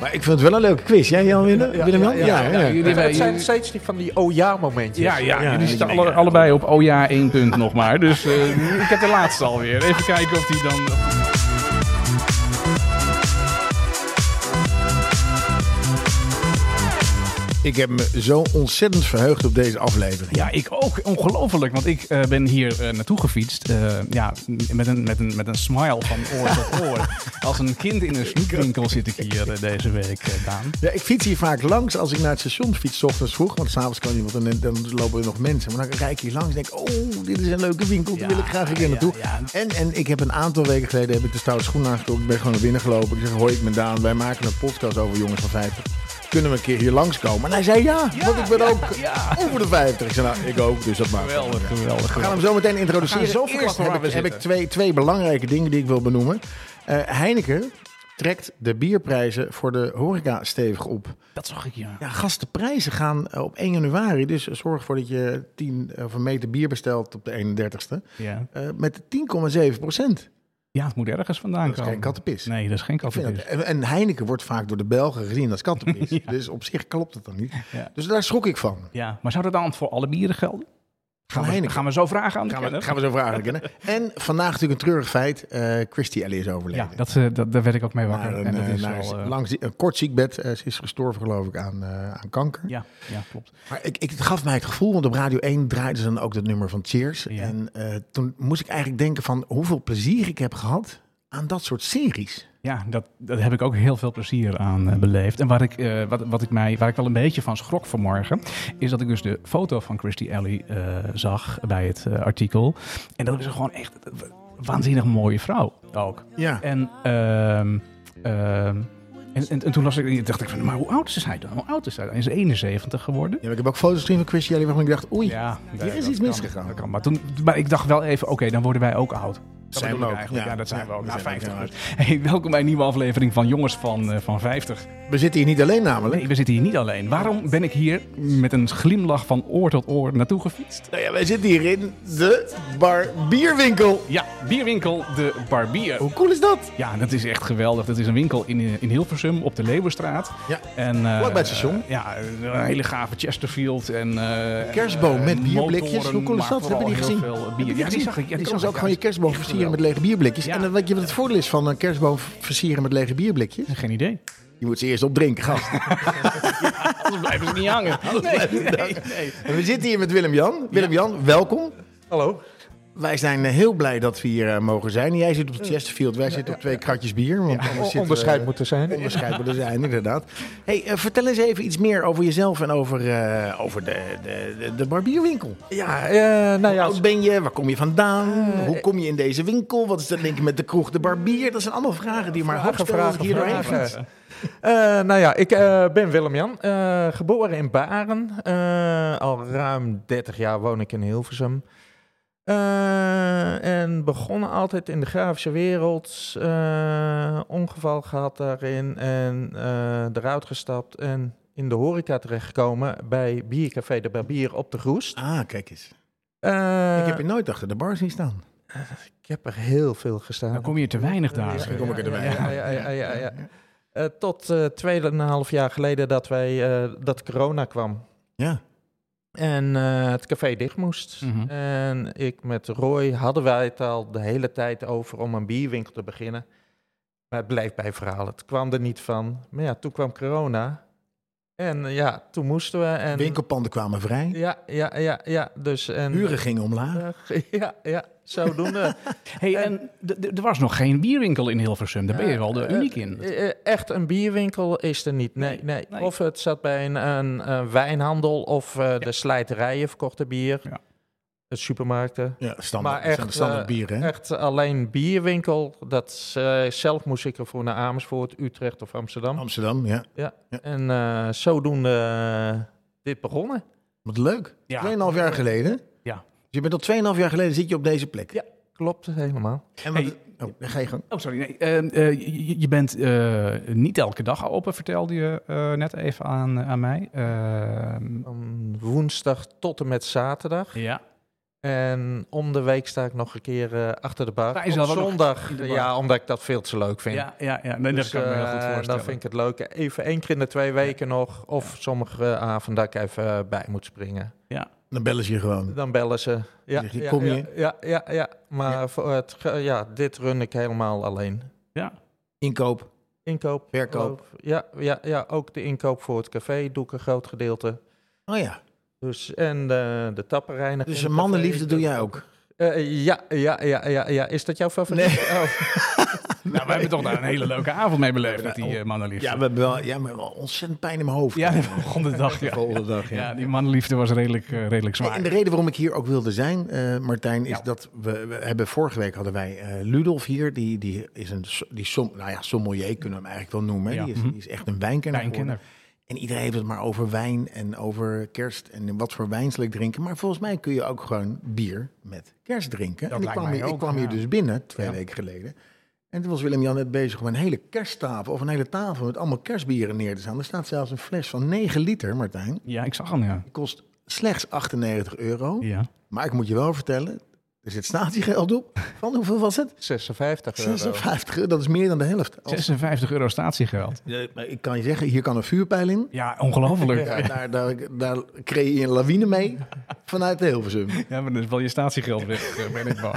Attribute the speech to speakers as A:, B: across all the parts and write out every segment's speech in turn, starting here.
A: Maar ik vind het wel een leuke quiz. Jij, Jan Willem? Willem Jan? Ja, ja,
B: jullie
C: Ja,
B: hebben-
C: het zijn
B: jullie-
C: steeds die van die oh ja momentjes.
B: ja, ja,
A: Ja,
B: jullie
A: die
B: zitten
A: dingen.
B: alle- allebei op oh ja, één punt nog maar. Dus eh, ik heb de laatste alweer. Even kijken of die dan...
A: Ik heb me zo ontzettend verheugd op deze aflevering.
B: Ja, ik ook. Ongelooflijk. Want ik eh, ben hier eh, naartoe gefietst. eh, ja, m- met een, met, een, met een smile van oor tot oor. Als een kind in een snoepwinkel zit ik hier eh, deze week, eh, Daan.
A: Ja, ik fiets hier vaak langs als ik naar het station fiets, 's ochtends vroeg. Want s'avonds kan niemand en dan lopen er nog mensen. Maar dan rijd ik hier langs en denk oh, dit is een leuke winkel. Daar
B: Ja,
A: wil ik graag een keer
B: ja,
A: naartoe.
B: ja.
A: En, en ik heb een aantal weken geleden heb ik de stoute schoen aangetrokken. Ik ben gewoon naar binnen gelopen. Ik zeg, hoi, ik ben Daan. Wij maken een podcast over jongens van 50. Kunnen we een keer hier langskomen? En hij zei ja, want ik ben ook over de 50. Ik zei, nou, ik ook, dus dat maakt
B: Geweldig, geweldig.
A: we gaan hem zo meteen introduceren.
B: We gaan zo
A: Eerst
B: verklappen
A: heb
B: waar
A: ik,
B: we
A: heb ik
B: zitten.
A: twee, twee belangrijke dingen die ik wil benoemen. Eh, Heineken trekt de bierprijzen voor de horeca stevig op.
B: Dat zag ik, ja.
A: Ja, gastenprijzen gaan eh, op 1 januari. Dus zorg ervoor dat je 10 of een meter bier bestelt op de 31ste.
B: Ja,
A: eh, met 10,7 procent.
B: ja het moet ergens vandaan
A: Dat is
B: komen.
A: geen kattenpis.
B: Nee, dat is geen
A: Ik vind
B: kattenpis.
A: dat- en, en Heineken wordt vaak door de Belgen gezien als kattenpis. Dus op zich klopt het dan niet.
B: Ja.
A: Dus daar schrok ik van.
B: Ja, maar zou dat dan voor alle bieren gelden?
A: Gaan
B: we,
A: Heineken.
B: gaan we zo vragen aan de
A: Gaan we,
B: kenner?
A: gaan we zo vragen kennen. En vandaag natuurlijk een treurig feit. eh Christy Alley is overleden.
B: Ja, dat, eh, dat, daar werd ik ook mee wakker.
A: Maar een,
B: en dat
A: eh,
B: is
A: naar
B: wel,
A: een
B: eh,
A: lang, zie- een kort ziekbed. Eh, ze is gestorven, geloof ik, aan, eh, aan kanker.
B: ja, ja, klopt.
A: Maar ik, ik, het gaf mij het gevoel, want op Radio 1 draaiden ze dan ook dat nummer van Cheers.
B: Ja.
A: En eh, toen moest ik eigenlijk denken van hoeveel plezier ik heb gehad aan dat soort series.
B: Ja, dat, dat heb ik ook heel veel plezier aan eh, beleefd. En waar ik, eh, wat, wat ik mij, waar ik wel een beetje van schrok vanmorgen, is dat ik dus de foto van Christy Alley eh, zag bij het eh, artikel. En dat is gewoon echt een waanzinnig mooie vrouw ook.
A: Ja.
B: En, ehm, ehm, en, en, en toen las ik, en dacht ik van, maar hoe oud is hij dan? Hoe oud is hij dan? Is hij 71 geworden?
A: Ja, maar ik heb ook foto's gezien van Christy Alley waarvan ik dacht, oei,
B: Ja,
A: hier
B: nee,
A: is
B: dat
A: iets
B: kan,
A: misgegaan.
B: dat kan. Maar, toen, maar ik dacht wel even, oké, dan worden wij ook oud. Dat
A: Zijn we
B: bedoel ik
A: ook,
B: eigenlijk.
A: ja.
B: Ja, dat zijn we
A: Ja,
B: ook.
A: we
B: Na
A: zijn ook
B: 50.
A: oud.
B: Hey, welkom bij een nieuwe aflevering van Jongens van, eh, van 50.
A: we zitten hier niet alleen namelijk.
B: Nee, we zitten hier niet alleen. Waarom ben ik hier met een glimlach van oor tot oor naartoe gefietst?
A: Nou ja, wij zitten hier in de barbierwinkel.
B: Ja, bierwinkel De Barbier.
A: Hoe cool is dat?
B: Ja, dat is echt geweldig. Dat is een winkel in, eh, in Hilversum op de Leeuwenstraat.
A: Ja.
B: En, eh,
A: Vlak bij het station.
B: Ja, een hele gave Chesterfield. En, eh,
A: Kerstboom
B: eh,
A: met bierblikjes.
B: motoren,
A: Hoe cool is
B: maar
A: dat? Heb je
B: vooral
A: die
B: heel
A: gezien?
B: veel bier.
A: Heb je die
B: Ja, die
A: gezien?
B: zag ik. Ja, die
A: Je
B: zag
A: kan
B: ik.
A: ze ook
B: Ja,
A: gewoon je
B: dat is
A: kerstboom
B: echt
A: versieren met
B: geweldig.
A: lege bierblikjes.
B: Ja.
A: En dan weet je wat het voordeel is van een kerstboom versieren met lege bierblikjes?
B: Geen idee.
A: Je moet ze eerst opdrinken, gast.
B: Anders blijven ze niet hangen. Nee, nee, nee.
A: En we zitten hier met Willem-Jan. Willem-Jan, welkom.
C: Hallo.
A: Wij zijn eh, heel blij dat we hier eh, mogen zijn. Jij zit op het Chesterfield, wij zitten op twee kratjes bier. Want anders
C: O-
A: zitten eh, we-
C: onderscheid moeten zijn.
A: onderscheid moeten zijn, inderdaad. Hey, eh, vertel eens even iets meer over jezelf en over, eh, over de, de, de, de barbierwinkel.
C: Ja, eh, nou ja. Eh,
A: Hoe oud ben je? Waar kom je vandaan? Hoe kom je in deze winkel? Wat is de link met de kroeg De Barbier? Dat zijn allemaal vragen die je maar
C: Vragen,
A: afstellen als ik
C: vragen,
A: hier doorheen
C: vragen.
A: fiets.
C: eh, nou ja, ik eh, ben Willem-Jan, eh, geboren in Baren. Eh, al ruim 30 jaar woon ik in Hilversum. Eh, en begonnen altijd in de grafische wereld. Eh, ongeval gehad daarin en eh, eruit gestapt en in de horeca terechtgekomen bij Biercafé de Barbier op de Groest.
A: Ah, kijk eens.
C: Eh,
A: Ik heb je nooit achter de bar zien staan.
C: ik heb er heel veel gestaan.
B: Dan kom je te weinig daar.
A: Misschien kom ik er te weinig.
C: Ja, ja, ja, ja, ja, ja. Eh, tot eh, 2,5 jaar geleden dat, wij, eh, dat corona kwam.
A: Ja.
C: En eh, het café dicht moest.
B: Mhm.
C: En ik met Roy hadden wij het al de hele tijd over om een bierwinkel te beginnen. Maar het bleef bij verhalen. Het kwam er niet van. Maar ja, toen kwam corona. En eh, ja, toen moesten we. En,
A: Winkelpanden kwamen vrij.
C: Ja, ja, ja, ja. Dus, en, Eh,
A: Huren gingen omlaag.
C: Ja, ja, zodoende.
B: Hey, en d- d- er was nog geen bierwinkel in Hilversum. Daar ben je wel de
C: Eh,
B: uniek in.
C: eh, eh, Echt een bierwinkel is er niet. Nee, nee.
B: nee.
C: Of het zat bij een, een, eh, wijnhandel of eh, de slijterijen verkochten bier.
B: Ja.
C: De supermarkten.
A: Ja, standaard. dat
C: Maar
A: zijn de
C: echt,
A: standaard
C: eh,
A: bieren, hè?
C: Echt alleen bierwinkel. Dat is, eh, zelf moest ik ervoor naar Amersfoort, Utrecht of Amsterdam.
A: Amsterdam, ja.
C: En eh, zodoende eh, dit begonnen.
A: Wat leuk.
B: Ja.
A: Tweeënhalf jaar geleden.
B: Ja.
A: Dus je bent al tweeënhalf jaar geleden zit je op deze plek.
C: Ja. Klopt helemaal.
A: En wat,
B: Hey.
A: oh, dan ga je gang.
B: Oh, sorry. Nee. Eh, eh, je, je bent eh, niet elke dag open, vertelde je eh, net even aan, aan mij. Eh,
C: Van woensdag tot en met zaterdag.
B: ja.
C: En om de week sta ik nog een keer eh, achter de bar.
B: Sta je
C: Op
B: zelf ook nog
C: zondag,
B: in de bar?
C: ja, omdat ik dat veel te leuk vind.
B: Ja, ja, ja. Nee,
C: Dus,
B: dat kan ik me heel
C: eh,
B: goed voorstellen.
C: Dan vind ik het leuk. Even één keer in de twee weken nog. Of sommige eh, avonden dat ik even eh, bij moet springen.
A: Dan bellen ze je gewoon.
C: Dan bellen ze. Ja,
A: Zeg je,
C: ja,
A: "Kom
C: ja,
A: je?"
C: Ja, ja, ja. Maar Voor het, ge- ja, dit run ik helemaal alleen.
A: Inkoop.
C: Inkoop.
A: Verkoop.
C: loop. Ja, ja, ja, ook de inkoop voor het café doe ik een groot gedeelte.
A: Oh ja.
C: Dus, en eh, de tappenreinig.
A: Dus mannenliefde doe jij ook.
C: Eh, ja, ja, ja, ja, ja. Is dat jouw favoriet? Oh,
B: Nou, we hebben toch daar een hele leuke avond mee beleefd met die
A: Ja,
B: eh, mannenliefde.
A: Ja, we hebben wel, ja, maar wel ontzettend pijn in mijn hoofd.
B: Ja, die begon de dag. Ja.
A: volgende dag. Ja.
B: ja, die mannenliefde was redelijk, eh, redelijk
A: Nee, En de
B: zwaar.
A: reden waarom ik hier ook wilde zijn, eh, Martijn, is
B: Ja.
A: dat we, we hebben vorige week hadden wij eh, Ludolf hier. Die, die is een so- die som, nou ja, sommelier kunnen we hem eigenlijk wel noemen. hè.
B: Ja.
A: Die, is,
B: Mhm.
A: die is echt een wijnkenner.
B: Wijnkenner.
A: geworden. En iedereen heeft het maar over wijn en over kerst en wat voor wijn zal ik drinken. Maar volgens mij kun je ook gewoon bier met kerst drinken.
B: Dat
A: en ik
B: lijkt
A: kwam,
B: mij
A: hier, ik
B: ook,
A: kwam
B: ja.
A: hier dus binnen twee
B: Ja.
A: weken geleden. En toen was Willem-Jan net bezig om een hele kersttafel of een hele tafel met allemaal kerstbieren neer te staan. Er staat zelfs een fles van 9 liter, Martijn.
B: Ja, ik zag hem, ja.
A: Die kost slechts 98 euro.
B: Ja,
A: Maar ik moet je wel vertellen, er zit statiegeld op. Van hoeveel was het?
C: 56 euro.
A: 56 euro, dat is meer dan de helft.
B: Oh.
A: Als-
B: 56 euro statiegeld.
A: Ja, maar ik kan je zeggen, hier kan een vuurpijl in.
B: Ja, ongelooflijk.
A: Ja, daar, daar, daar creëer je een lawine mee vanuit Hilversum.
B: Ja, maar dan is wel je statiegeld weg, eh, ben ik bang.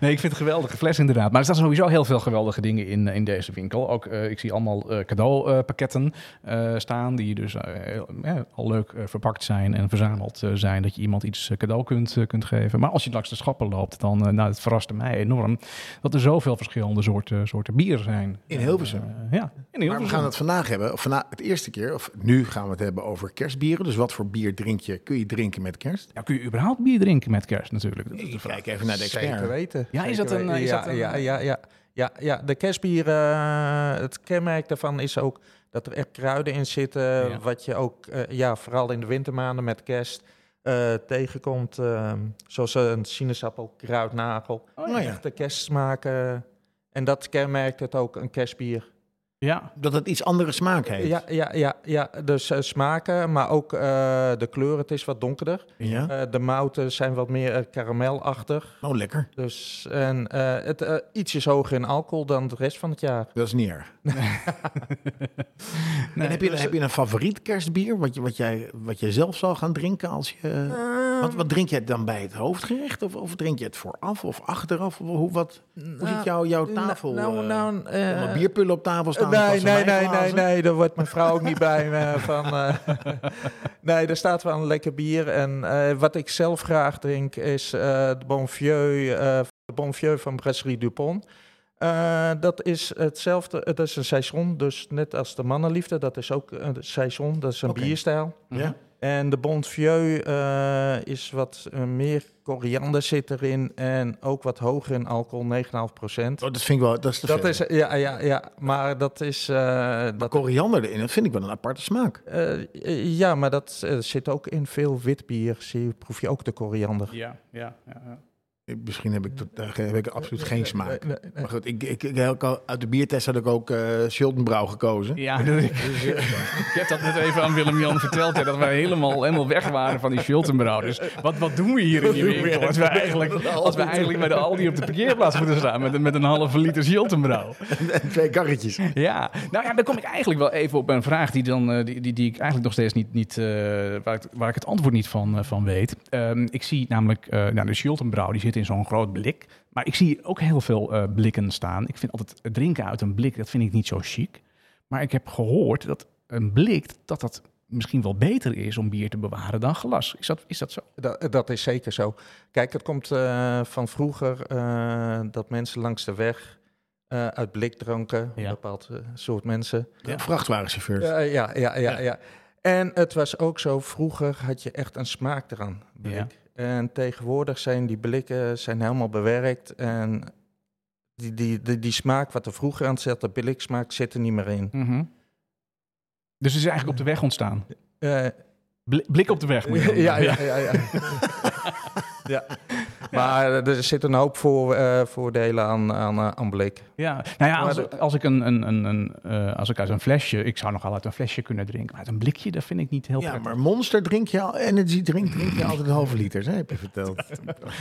B: Nee, ik vind het een geweldige fles inderdaad. Maar er staan sowieso heel veel geweldige dingen in, eh, in deze winkel. Ook, eh, ik zie allemaal eh, cadeaupakketten eh, staan die dus eh, heel- ja, al leuk eh, verpakt zijn en verzameld eh, zijn. Dat je iemand iets eh, cadeau kunt, eh, kunt geven. Maar als je langs de schappen loopt, dan eh, nou, het verraste mij enorm dat er zoveel verschillende soorten, soorten bier zijn.
A: In Hilversum.
B: Eh, ja, in Hilversum.
A: Maar we gaan het vandaag hebben, of vandaag het eerste keer, of nu gaan we het hebben over kerstbieren. Dus wat voor bier drink je, kun je drinken met kerst? Dus
B: Ja, kun je überhaupt bier drinken met kerst natuurlijk? Dat is de
A: Ik
B: vraag.
A: kijk even naar de
C: Zeker
A: expert.
C: weten.
B: Ja, is
C: Zeker
B: dat een,
C: weten.
B: eh, is
C: ja,
B: dat een-
C: ja, ja, ja, ja, ja. De kerstbier, eh, het kenmerk daarvan is ook dat er echt kruiden in zitten.
B: Ja.
C: Wat je ook, eh, ja, vooral in de wintermaanden met kerst eh, tegenkomt. ehm, zoals een sinaasappel, kruidnagel.
A: Oh ja.
C: Echte kerstsmaken. En dat kenmerkt het ook, een kerstbier.
B: Ja,
A: Dat het iets andere smaak heeft.
C: Ja, ja, ja, ja. Dus eh, smaken, maar ook eh, de kleur. Het is wat donkerder.
A: Ja?
C: Eh, de mouten zijn wat meer eh, karamelachtig.
A: Oh, lekker.
C: Dus en, eh, het eh, ietsjes hoger in alcohol dan de rest van het jaar.
A: Dat is niet erg. en heb, je, heb je een favoriet kerstbier, wat, je, wat, jij, wat jij zelf zou gaan drinken als je...
C: Ehm. Eh,
A: Wat, wat drink je het dan bij het hoofdgerecht? Of, of drink je het vooraf of achteraf? Of Hoe, wat, hoe ziet jouw jouw tafel?
C: Nou,
A: eh,
C: nou, eh,
A: allemaal bierpullen op tafel staan? een
C: Nee,
A: glas
C: nee, nee, nee,
A: wijnglazen?
C: nee, daar wordt mijn vrouw ook niet bij me van. eh. nee, daar staat wel een lekker bier. En eh, wat ik zelf graag drink is eh, de Bonfieux, eh de Bonfieux van Brasserie Dupont. Eh, dat is hetzelfde, het is een saison, dus net als de mannenliefde, dat is ook een saison, dat is een
A: Oké.
C: bierstijl.
A: Ja?
C: En de Bon Vieux eh, is wat eh, meer koriander zit erin en ook wat hoger in alcohol, 9,5 procent.
A: Oh, dat vind ik wel, dat is te
C: Dat
A: veel.
C: is, ja, ja, ja, maar dat is, eh,
A: Maar
C: dat,
A: koriander erin, dat vind ik wel een aparte smaak.
C: eh, eh, ja, maar dat eh, zit ook in veel wit bier, zie, je, proef je ook de koriander.
B: Ja, ja, ja, ja.
A: Ik- Misschien heb ik, tot- daar heb ik absoluut geen smaak.
C: Eh, eh, eh,
A: Maar goed, ik, ik, ik, heb ook al- uit de biertest had ik ook eh Schuldenbrouw gekozen.
B: Ja, dat- ik, heb dat net even aan Willem-Jan verteld. hè, dat wij helemaal, helemaal weg waren van die Schultenbrouw. Dus wat, wat doen we hier in die winkel? Als we eigenlijk, als we eigenlijk bij de Aldi op de parkeerplaats moeten staan... met, een- met een halve liter Schultenbrouw.
A: En twee karretjes.
B: Ja, nou ja, dan kom ik eigenlijk wel even op een vraag die, dan, eh, die, die, die ik eigenlijk nog steeds niet, niet eh, waar, ik, waar ik het antwoord niet van, eh, van weet. Ehm, ik zie namelijk, eh, nou, de Schultenbrouw die zit in zo'n groot blik. Maar ik zie ook heel veel eh, blikken staan. Ik vind altijd het drinken uit een blik, dat vind ik niet zo chic. Maar ik heb gehoord dat een blik, dat dat misschien wel beter is om bier te bewaren dan glas. Is dat, is dat zo?
C: Dat, dat is zeker zo. Kijk, het komt eh, van vroeger eh, dat mensen langs de weg eh, uit blik dronken,
B: Ja.
C: een bepaald eh, soort mensen.
B: Ja.
A: Vrachtwagenchauffeurs.
C: Ja, ja, ja, ja,
B: Ja.
C: ja, En het was ook zo, vroeger had je echt een smaak eraan. blik.
B: Ja.
C: En tegenwoordig zijn die blikken zijn helemaal bewerkt. En die, die, die, die smaak wat er vroeger aan zat, de bliksmaak, zit er niet meer in.
B: Dus het is eigenlijk op de weg ontstaan.
C: Eh,
B: Blik, blik op de weg moet je
C: ja,
B: dan
C: ja,
B: zeggen.
C: ja, ja. Maar eh, er zit een hoop voor, eh, voordelen aan, aan, eh, aan blik.
B: Ja, nou ja,
C: Maar
B: als,
C: dat-
B: als, ik een, een, een, een, eh, als ik uit een flesje, ik zou nogal uit een flesje kunnen drinken, maar uit een blikje, dat vind ik niet heel
A: Ja,
B: prettig.
A: maar Monster drink je al, Energy drink drink je altijd een halve liter, hè, heb je verteld.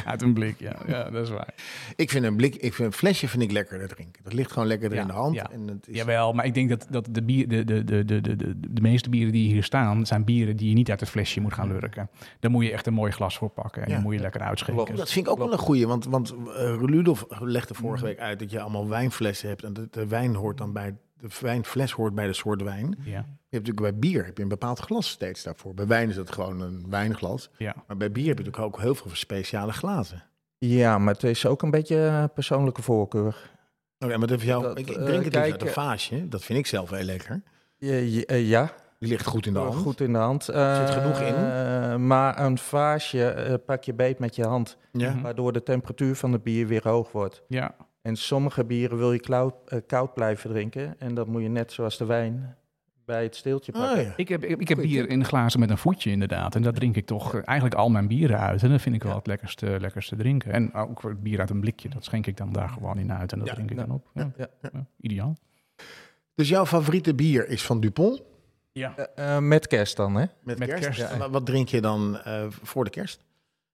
B: Uit een blik, ja, ja dat is waar.
A: Ik vind een, blik, ik vind een flesje vind ik lekkerder drinken. Dat ligt gewoon lekkerder
B: Ja,
A: in de hand.
B: ja.
A: En het is,
B: Jawel, maar ik denk dat, dat de, bier, de, de, de, de, de, de, de meeste bieren die hier staan, zijn bieren die je niet uit het flesje moet gaan lurken. Daar moet je echt een mooi glas voor pakken en
A: Ja.
B: die moet je lekker uitschenken.
C: Klopt.
A: dat vind ik ook wel een goeie, want, want eh, Rudolf legde vorige week uit dat je allemaal wijnflessen hebt. En dat de wijn hoort dan bij, de wijnfles hoort bij de soort wijn.
B: Ja,
A: Je hebt natuurlijk bij bier heb je een bepaald glas steeds daarvoor. Bij wijn is dat gewoon een wijnglas.
B: ja.
A: Maar bij bier heb je natuurlijk ook heel veel speciale glazen.
C: Ja, maar het is ook een beetje eh, persoonlijke voorkeur.
A: Oké, Oh maar dat voor jou,
C: Dat,
A: ik ik
C: eh,
A: drink het dus
C: kijk,
A: uit een
C: eh,
A: vaasje. Dat vind ik zelf heel lekker.
C: Ja, ja, eh, ja.
A: Die ligt goed in de
C: Eh,
A: hand.
C: goed in de hand.
A: zit
C: Eh,
A: genoeg in.
C: eh, maar een vaasje eh, pak je beet met je hand,
A: Ja.
B: Mhm.
C: waardoor de temperatuur van het bier weer hoog wordt.
B: ja.
C: En sommige bieren wil je klauw- eh, koud blijven drinken. En dat moet je net zoals de wijn bij het steeltje pakken.
A: Oh, ja.
B: Ik heb, ik ik heb
A: Goeie
B: bier
A: tip.
B: in glazen met een voetje inderdaad. En daar drink ik toch eh, eigenlijk al mijn bieren uit. En dat vind ik wel het lekkerste, lekkerste drinken. En ook het bier uit een blikje, dat schenk ik dan daar gewoon in uit. En dat
A: Ja,
B: drink ik
C: ja.
B: dan op. Ja.
C: Ja.
B: Ja, Ideaal.
A: Dus jouw favoriete bier is van Dupont?
B: Ja.
C: Eh, eh, met kerst dan, hè?
A: Met,
B: Met
A: kerst.
B: kerst,
A: Ja.
B: ja.
A: Wa- Wat drink je dan eh, voor de kerst?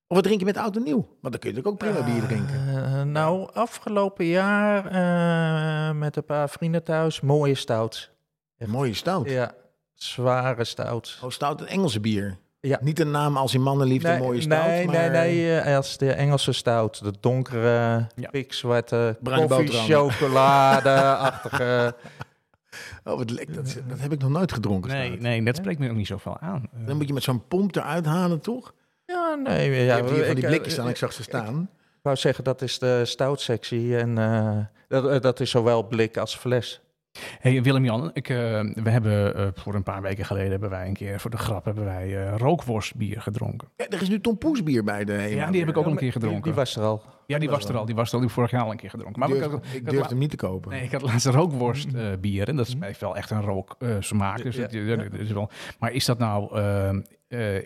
A: Of wat drink je met oud en nieuw? Want dan kun je natuurlijk ook prima bier drinken.
C: Eh, nou, afgelopen jaar eh, met een paar vrienden thuis, mooie stout.
A: Een mooie stout.
C: Ja, zware stout.
A: Oh, stout, een Engelse bier.
C: Ja.
A: Niet een naam als in mannenliefde,
C: nee,
A: mooie stout.
C: nee,
A: maar...
C: nee, nee, eh, als de Engelse stout. De donkere,
B: Ja.
C: pikzwarte,
A: Bruine
C: koffie,
A: boterhammen.
C: chocolade-achtige.
A: Oh, wat lek- dat, is- dat heb ik nog nooit gedronken.
B: Nee,
A: stout.
B: nee, dat spreekt me ook niet zoveel aan. Eh,
A: Dan moet je met zo'n pomp eruit halen, toch?
C: ja, nee.
A: Ja,
C: Ja,
A: je hebt hier van die
B: eh,
C: ik-
A: blikjes staan, ik
C: Ik
A: zag ze staan.
C: wou zeggen, dat is de stoutsectie. En eh, dat, eh, dat is zowel blik als fles.
B: Hey Willem-Jan, ik, eh, we hebben eh, voor een paar weken geleden hebben wij een keer voor de grap hebben wij eh, rookworstbier gedronken.
A: Ja, er is nu Tom Poes bier bij de Hema
B: Ja, die heb
A: weer.
B: ik ook een
C: Ja,
B: keer
C: maar Die,
B: gedronken.
C: die was er al.
B: ja, die was er al. Die was er al. Die heb ik vorig jaar al een keer gedronken. Maar
A: Durf-
B: ik, had-
A: ik
B: had
A: durfde
B: la-
A: hem niet te kopen.
B: Nee, ik had laatst rookworstbier bier en dat is mij wel echt een rooksmaak. dus
C: Mm. Ja,
B: dat- dat is wel. Maar is dat nou eh,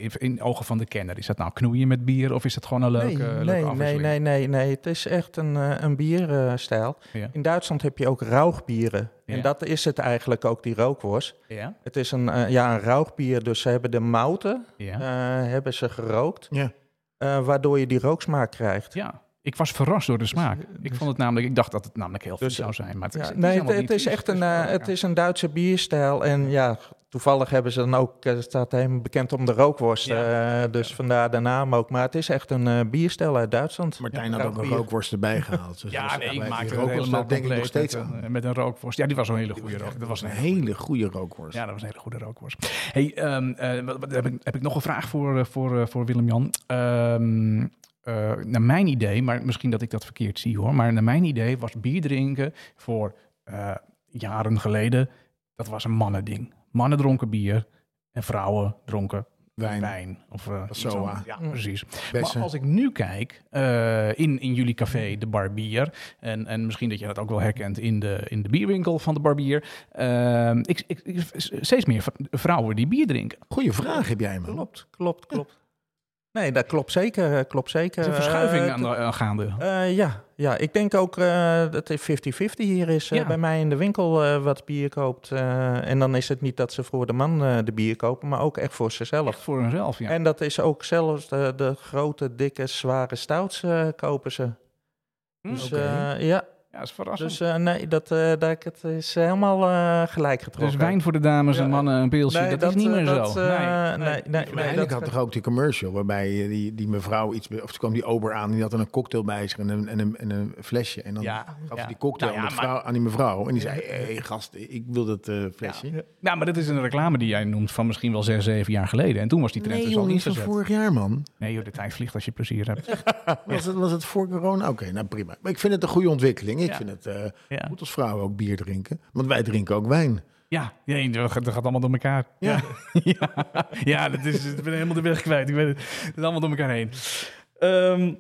B: eh, in ogen van de kenner, is dat nou knoeien met bier of is dat gewoon een leuke,
C: nee,
B: leuke
C: nee, nee,
B: afwisseling?
C: nee, nee, nee. Het is echt een, eh, een bierstijl.
B: Ja.
C: In Duitsland heb je ook rauwbieren.
B: Ja.
C: En dat is het eigenlijk ook, die rookworst.
B: Ja,
C: Het is een, eh, ja, een rauwbier, dus ze hebben de mouten
B: ja.
C: eh, hebben ze gerookt.
A: Ja.
C: eh, waardoor je die rooksmaak krijgt.
B: ja. Ik was verrast door de smaak. Ik vond het namelijk, ik dacht dat het namelijk heel veel
C: eh, Dus,
B: zou zijn, maar het,
C: Ja,
B: is- het is
C: nee, het,
B: helemaal niet
C: het is
B: vies. dus
C: echt
B: Het
C: een,
B: wel
C: eh,
B: lekker.
C: het is een Duitse bierstijl. En ja, toevallig hebben ze dan ook, eh, staat helemaal bekend om de rookworst.
B: Ja.
C: eh, dus vandaar de naam ook. Maar het is echt een eh, bierstijl uit Duitsland.
A: Martijn
C: Ja,
A: had ook een
C: rookbier.
A: rookworst erbij gehaald. Dus dat
B: Ja,
A: was
B: nee, ik
A: allebei-
B: maak
A: die
B: er ook
A: rookworst,
B: helemaal
A: dat denk ik nog
B: compleet
A: steeds
B: met,
A: aan.
B: een- Met een rookworst. Ja, die was wel een hele goede rook. Dat was een
A: Een
B: hele,
A: hele goede rookworst.
B: ja, dat was een hele goede rookworst. Hey, ehm, eh, wat, wat- heb, ik, heb ik nog een vraag voor, eh, voor, eh, voor Willem-Jan? Ehm, eh, naar mijn idee, maar misschien dat ik dat verkeerd zie hoor. Maar naar mijn idee was bier drinken voor eh, jaren geleden, dat was een mannending. Mannen dronken bier en vrouwen dronken
A: Wijn,
B: wijn. Of, eh, iets
A: Soa.
B: anders. Ja, precies.
A: bessen.
B: Maar als ik nu kijk eh, in, in jullie café, de barbier, en, en misschien dat je dat ook wel herkent in de, in de bierwinkel van de barbier, eh, ik, ik, ik- steeds meer v- vrouwen die bier drinken.
A: Goeie vraag heb jij, man.
C: Klopt, klopt, klopt. Nee, dat klopt zeker. eh, Klopt zeker.
B: Er is een verschuiving
C: Eh,
B: aan de, aan gaande.
C: eh, ja, ja, ik denk ook eh, dat het 50-50 hier is. eh,
B: Ja.
C: Bij mij in de winkel eh, wat bier koopt. eh, en dan is het niet dat ze voor de man eh, de bier kopen, maar ook echt voor zichzelf.
B: Echt voor hunzelf, ja.
C: En dat is ook zelfs de, de grote, dikke, zware stouts eh, kopen ze.
B: Hm?
C: Dus
A: Oké.
C: eh, ja,
B: ja, is verrassend.
C: dus
B: Dus,
C: eh, nee, dat, eh dat, het is helemaal eh, gelijk
A: Dus
C: getrokken.
B: Dus wijn voor de dames en
C: Ja,
B: mannen, een pilsje,
C: Nee,
B: dat, is niet
C: eh,
B: meer
C: dat,
B: zo.
C: eh, nee,
B: nee,
C: nee,
A: Maar
C: nee,
A: Heineken had
C: dat-
A: toch ook die commercial waarbij eh, die, die mevrouw iets... be- Of toen kwam die ober aan die had dan een cocktail bij zich en een, en een, en een flesje. En dan
B: Ja,
A: gaf
B: ja.
A: ze die cocktail
B: Nou ja,
A: aan, de vrouw- aan die mevrouw. En die zei, hé hey, gast, ik wil dat eh, flesje.
B: Nou, maar dat is een reclame die jij noemt van misschien wel zes, zeven jaar geleden. En toen was die trend
A: Nee,
B: dus
A: joh,
B: al
A: niet van
B: ingezet.
A: vorig jaar, man.
B: Nee joh, de tijd vliegt als je plezier hebt.
A: Was het, was het voor corona? Oké, nou prima. Maar ik vind het een goede ontwikkeling. Ik
B: Ja.
A: vind het... eh,
B: Ja.
A: moet als vrouwen ook bier drinken. Want wij drinken ook wijn.
B: Ja, nee, dat gaat dat gaat allemaal door elkaar.
A: Ja.
B: ja, ja dat is, ik ben helemaal de weg kwijt. Ik weet het, het is allemaal door elkaar heen. Ehm,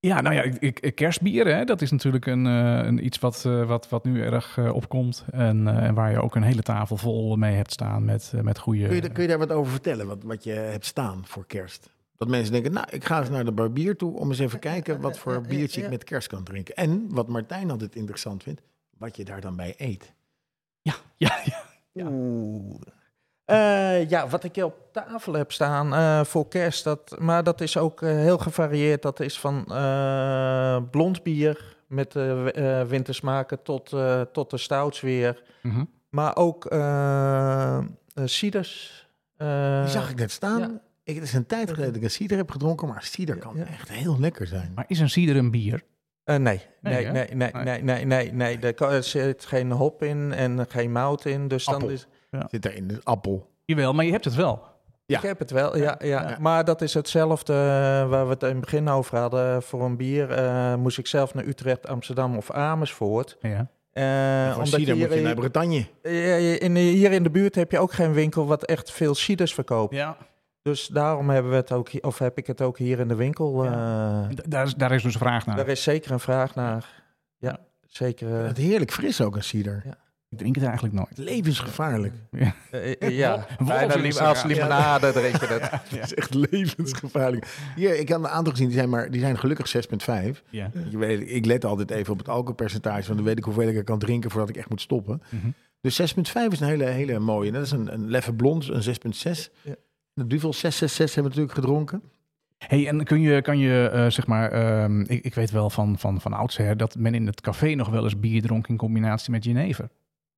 B: ja, nou ja, ik, ik- kerstbier, hè, dat is natuurlijk een, eh, een iets wat, eh, wat, wat nu erg eh, opkomt. En eh, en waar je ook een hele tafel vol mee hebt staan met, eh, met goede...
A: Kun je, daar- kun je daar wat over vertellen? Wat, wat je hebt staan voor kerst? Dat mensen denken, nou, ik ga eens naar de barbier toe om eens even kijken wat
C: Ja,
A: voor
C: ja,
A: biertje ik
C: ja.
A: met kerst kan drinken. En wat Martijn altijd interessant vindt, wat je daar dan bij eet.
B: Ja, ja, ja. Ja.
C: Oeh. Eh, ja, wat ik hier op tafel heb staan eh, voor kerst, dat, maar dat is ook eh, heel gevarieerd. Dat is van eh, blond bier met eh, w- eh, wintersmaken tot, eh, tot de stouts weer.
B: Mhm.
C: Maar ook eh eh, ciders. eh,
A: Die zag ik net staan.
C: ja.
A: Ik, het is een tijd geleden dat ik een cider heb gedronken, maar cider kan
C: ja.
A: echt heel lekker zijn.
B: Maar is een cider een bier?
C: eh, nee,
B: Nee,
C: nee,
B: hè?
C: nee, nee,
B: Nee.
C: nee, nee, nee, nee. Er kan- Er zit geen hop in en geen mout in. Dus dan
A: Appel.
C: is,
A: Zit er in de appel.
C: Eh,
B: Jawel, maar je hebt het wel.
A: Ja.
C: Ik heb het wel, ja, ja.
A: Ja.
C: Maar dat is hetzelfde eh, waar we het in het begin over hadden. Voor een bier eh, moest ik zelf naar Utrecht, Amsterdam of Amersfoort.
B: Ja.
C: Eh,
A: Van
C: omdat
A: cider
C: hier,
A: moet je naar Bretagne.
C: eh, in, hier in de buurt heb je ook geen winkel wat echt veel ciders verkoopt.
B: ja.
C: Dus daarom hebben we het ook, hi- of heb ik het ook hier in de winkel. eh,
B: D- Daar, is, daar is dus vraag naar.
C: Daar is zeker een vraag naar. Ja, zeker. eh,
A: Het heerlijk fris ook, een cider.
B: Ik drink het eigenlijk nooit.
A: Levensgevaarlijk.
C: eh, eh, ja,
B: Wol-
C: bijna
B: wolf is
C: li-
B: er
C: als
B: aan.
C: limonade drink je dat.
B: Ja.
A: Het is echt levensgevaarlijk. Hier, ik had een aantal gezien, die zijn, maar, die zijn gelukkig 6,5.
B: Ja.
A: Je weet, ik let altijd even op het alcoholpercentage, want dan weet ik hoeveel ik er kan drinken voordat ik echt moet stoppen.
B: Mhm.
A: Dus 6,5 is een hele, hele mooie. Dat is een, een Leffe Blond, een 6,6.
C: Ja.
A: De Duvel 666 hebben we natuurlijk gedronken.
B: Hey, en kun je, kan je eh, zeg maar, ehm, ik, ik weet wel van, van, van oudsher dat men in het café nog wel eens bier dronk in combinatie met Genever.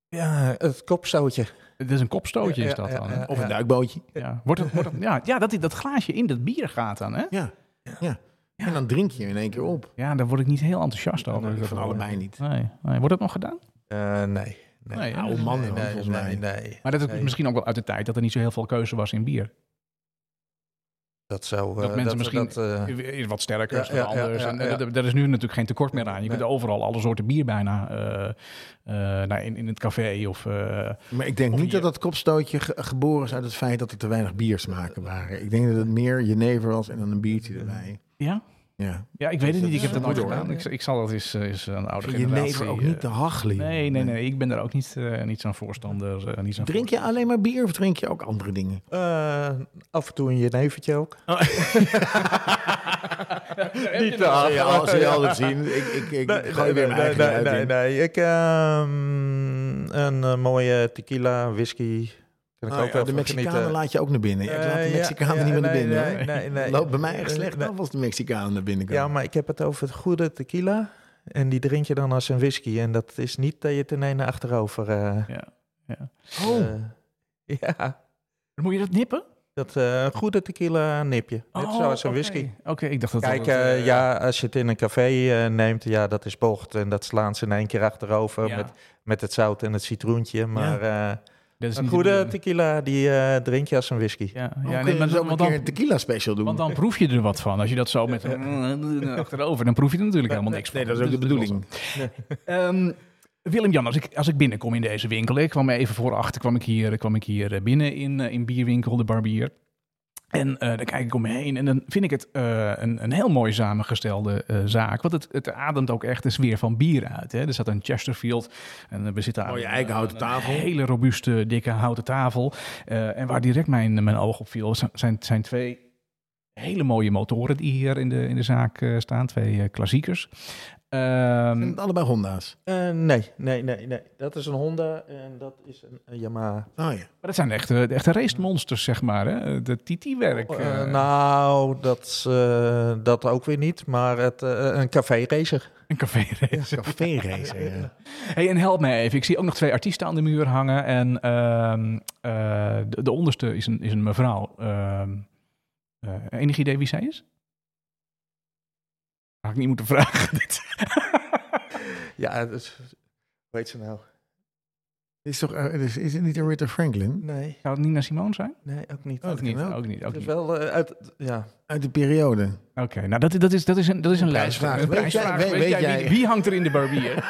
C: Ja, het kopstootje.
B: Het is een kopstootje,
C: Ja,
B: is
C: ja,
B: dat
C: ja,
B: dan?
C: ja.
B: hè?
A: Of een duikbootje.
B: Ja, wordt het, wordt het, ja, ja dat, dat glaasje in dat bier gaat dan, hè?
A: Ja. ja. En dan drink je in één keer op.
B: Ja, daar word ik niet heel enthousiast over.
A: Nou,
B: Dat
A: van
B: wel.
A: allebei niet.
B: Nee, nee. Wordt dat nog gedaan?
C: Eh, nee. Nee,
B: Nee, hè?
A: Oude mannen, hoor, volgens mij.
C: Nee, nee.
B: Maar dat is
C: Nee.
B: misschien ook wel uit de tijd dat er niet zo heel veel keuze was in bier.
C: Dat zou...
B: Dat
C: eh,
B: mensen misschien-
C: Dat, eh,
B: Is wat sterker,
C: Ja,
B: is wat
C: ja, ja,
B: anders.
C: ja,
B: En, eh,
C: ja.
B: dat- Daar is nu natuurlijk geen tekort meer aan. Je kunt
C: Nee.
B: overal alle soorten bier bijna eh, eh, nou, in, in het café of... eh,
A: Maar ik denk
B: Of
A: niet
B: hier.
A: dat dat kopstootje ge- geboren is uit het feit dat er te weinig biersmaken waren. Ik denk dat het meer jenever was en dan een biertje erbij.
B: ja?
A: Ja.
B: Ja, ik weet het
A: Dus dat
B: niet. Ik
A: is
B: heb dat
A: wel
B: nooit
A: goed, hoor.
B: gedaan. Ik, ik zal dat eens, eh, eens een oude generatie...
A: Jenever ook
B: eh,
A: niet te hachelen. joh.
B: nee, nee, nee. Ik ben daar ook niet, eh, niet zo'n voorstander. eh, niet zo'n
A: Drink je alleen maar bier of drink je ook andere dingen?
C: Eh, af en toe een jenevertje ook.
B: Oh. voorstander.
C: Niet te
A: Ja,
C: hard.
A: als je altijd zien. Ik, ik, ik gooi weer mijn
C: nee,
A: eigen
C: nee,
A: uit
C: nee,
A: in.
C: nee. Ik, ehm, een eh, mooie tequila, whisky. Kan ik
A: Ah,
C: ook
A: ja,
C: wel
A: de
C: van
A: Mexicanen
C: genieten.
A: laat je ook naar binnen. Ik laat de
C: Eh, ja,
A: Mexicanen
C: ja,
A: niet meer naar
C: nee,
A: binnen.
C: nee,
A: hoor.
C: nee, nee.
A: Loopt bij mij echt
C: Eh,
A: slecht
C: nee.
A: af als de Mexicanen naar binnen komen.
C: Ja, maar ik heb het over het goede tequila. En die drink je dan als een whisky. En dat is niet dat je ten ene achterover... eh,
A: oh,
C: eh, ja,
B: Moet je dat nippen?
C: dat eh, goede tequila nipje. Net
B: Oh,
C: zoals een
B: oké.
C: whisky.
B: Oké, ik dacht dat
C: Kijk,
B: dat,
C: eh,
B: eh,
C: ja, als je het in een café eh, neemt, ja, dat is bocht. En dat slaan ze in één keer achterover
B: ja,
C: met, met het zout en het citroentje. Maar eh,
B: dat is
C: een
B: niet de
C: goede
B: bedoeling.
C: tequila, die eh, drink je als een whisky.
B: Ja,
A: ja,
B: ja
A: kun
B: nee,
A: je
B: maar
A: dus ook
B: dan, want,
A: een keer een
B: dan,
A: tequila special doen.
B: want dan proef je er wat van. Als je dat zo met een achterover, dan proef je er natuurlijk helemaal niks van.
A: nee, dat is ook de
B: Dus
A: bedoeling.
B: Ehm, Willem-Jan, als ik, als ik binnenkom in deze winkel, ik kwam even voor achter, kwam ik hier, kwam ik hier eh, binnen in, eh, in bierwinkel, de barbier. En eh, dan kijk ik om me heen en dan vind ik het eh, een, een heel mooi samengestelde eh, zaak. Want het, het ademt ook echt de sfeer van bier uit. Hè. Er zat een Chesterfield en eh, we zitten aan
A: Mooie
B: een-
A: eikenhouten
B: een- een
A: tafel.
B: hele robuuste, dikke houten tafel. Eh, en waar direct mijn, mijn oog op viel, z- zijn, zijn twee hele mooie motoren die hier in de, in de zaak eh, staan. Twee eh, klassiekers.
A: Zijn
B: Ehm
A: het allebei Honda's.
C: Eh, nee, nee, nee, nee. Dat is een Honda en dat is een, een Yamaha.
A: Oh ja.
B: Maar dat zijn echte, de echte race monsters, zeg maar. Hè? De TT-werk.
C: Oh, eh, nou, dat, eh, dat ook weer niet. Maar het, eh, een café racer.
B: Een café-race.
A: Café racer. ja.
B: Hey, en help mij even. Ik zie ook nog twee artiesten aan de muur hangen. En ehm, eh, de, de onderste is een, is een mevrouw. Ehm, eh, enig idee wie zij is? Had ik niet moeten vragen. Dit.
C: Ja, dus, hoe heet ze nou?
A: Is, toch, eh, is, is het niet een Ritter Franklin?
C: Nee,
B: Zou het Nina Simone zijn?
C: nee, ook niet.
A: Oh, dat
B: Ook niet.
A: kan ook.
B: Ook niet. Ook
C: Het is
B: niet.
C: wel eh, uit, ja.
A: Uit de periode.
B: Oké, nou dat, dat, is, dat is een, dat is een,
A: Een
B: lijst.
A: prijsvraag.
B: Een
A: Weet
B: prijsvraag.
A: jij-
B: Weet,
A: weet- weet
B: jij wie,
A: jij-
B: wie hangt er in de barbier?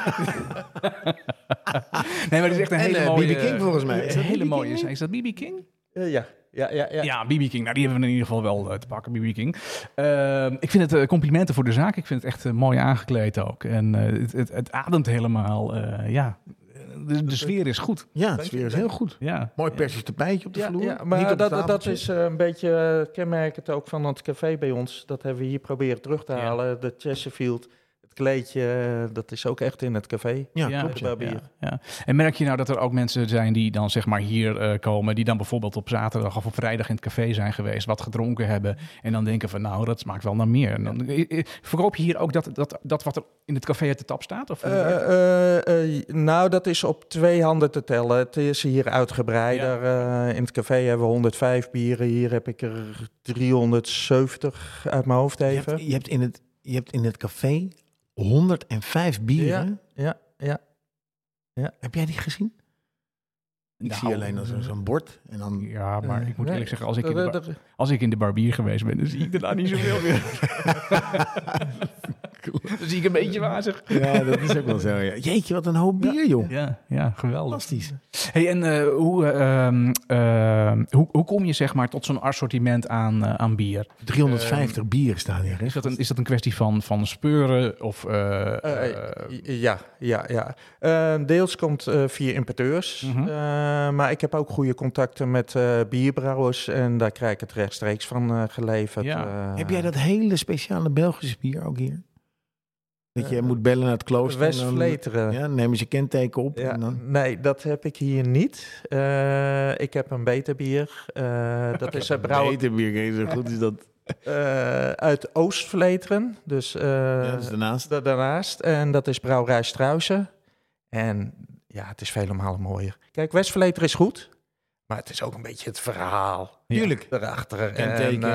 B: nee, maar dat is echt een
A: En,
B: hele
A: eh,
B: mooie...
A: B.B. King volgens mij. Is
B: Is
A: dat
B: een hele
A: B.B.
B: mooie...
A: King
B: Is dat BB King?
C: Eh, ja, ja, ja, ja.
B: Ja, BB King. Nou, die hebben we in ieder geval wel eh, te pakken, BB King. Ehm, ik vind het eh, complimenten voor de zaak. Ik vind het echt eh, mooi aangekleed ook. En eh, het, het, het ademt helemaal, eh, ja, een de, de sfeer is goed.
A: Ja, het sfeer is heel goed.
B: Ja.
A: Mooi persisch tapijtje op de
C: Ja,
A: vloer.
C: ja,
A: Niet
C: maar
A: op het
C: dat, dat
A: tafeltje.
C: is eh, een beetje eh, kenmerkend ook van het café bij ons. Dat hebben we hier proberen terug te
B: Ja.
C: halen. De Chesterfield, het kleedje, eh, dat is ook echt in het café.
A: Ja,
B: Ja,
A: klopt.
C: de barbier.
B: ja, ja. En merk je nou dat er ook mensen zijn die dan zeg maar hier eh, komen, die dan bijvoorbeeld op zaterdag of op vrijdag in het café zijn geweest, wat gedronken hebben en dan denken van nou, dat smaakt wel naar meer. En dan, eh, eh, verkoop je hier ook dat, dat, dat wat er in het café uit de tap staat? Of,
C: Eh, eh, eh, nou, dat is op twee handen te tellen. Het is hier uitgebreider. Eh, in het café hebben we 105 bieren. Hier heb ik er 370 uit mijn hoofd
A: Je
C: even.
A: hebt, je, hebt in het, je hebt in het café 105 bieren.
C: Ja, ja.
A: Heb jij die gezien? Ik
B: Nou,
A: zie alleen dan zo- zo'n Eh, bord. En dan...
B: Ja, maar ik moet
C: Nee,
B: eerlijk zeggen, als ik, in de,
C: er-
B: bar-
C: er-
B: als ik in de barbier geweest ben, dan zie ik er nou niet zoveel meer. Dan zie ik een beetje wazig.
A: ja, dat is ook wel zo. ja. Ehm, Jeetje, wat een hoop bier, joh.
B: Ja, ja geweldig.
A: Fantastisch.
B: Hey, en eh, hoe, eh, ehm, ehm, hoe, hoe kom je zeg maar tot zo'n assortiment aan, eh, aan bier?
A: 350 bieren staan hier. Hè?
B: Is dat een, is dat een kwestie van, van speuren of... eh,
C: Eh,
B: eh,
C: ja, ja, ja. Eh, deels komt eh, via importeurs.
B: Mhm.
C: Eh, maar ik heb ook goede contacten met eh, bierbrouwers. En daar krijg ik het rechtstreeks van eh, geleverd.
B: Ja.
C: Eh,
A: Heb jij dat hele speciale Belgische bier ook hier? Dat je
C: Eh,
A: moet bellen naar het klooster. en dan-
C: Westvleteren.
A: Ja, nemen ze kenteken op.
C: Ja,
A: En dan,
C: nee, dat heb ik hier niet. Eh, ik heb een beter bier. Eh, dat is een brouwer
A: Beter bier, geen zo goed is dat.
C: eh, uit Oostvleteren. Dus, eh,
A: Ja, dat is daarnaast.
C: da- daarnaast. En dat is brouwerij Struisen. En ja, het is vele malen mooier. Kijk, Westvleteren is goed. Maar het is ook een beetje het verhaal
A: Tuurlijk.
C: erachter.
A: Kenteken,
C: eh,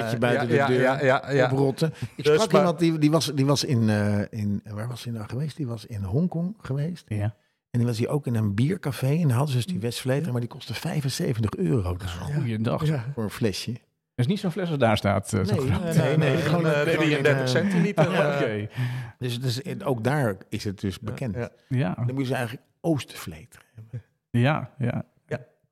A: ratje buiten
C: ja,
A: de
C: ja,
A: deur,
C: Ja, ja, eh, ja.
A: Oprotten. Ik
C: Dus
A: sprak
C: maar-
A: iemand, die, die, was, die was in, eh, in... Waar was hij nou geweest? Die was in Hongkong geweest.
B: ja.
A: En die was hij ook in een biercafé. En daar hadden ze dus die Westvleter, maar die kostte 75 euro. Dat is goed
B: Goeiedag. Dat
A: voor een flesje.
B: is niet zo'n fles als daar staat. eh, zo groot.
C: Nee,
A: Nee,
C: nee,
A: nee, gewoon
C: gewoon
A: een-
C: eh,
A: gewoon een,
C: 33
A: eh,
C: centiliter.
B: Ja,
C: eh,
B: oké.
A: Dus, het is- en ook daar is het dus bekend.
C: ja.
B: Ja,
A: Dan moet je ze eigenlijk Oostvleter.
B: ja, ja.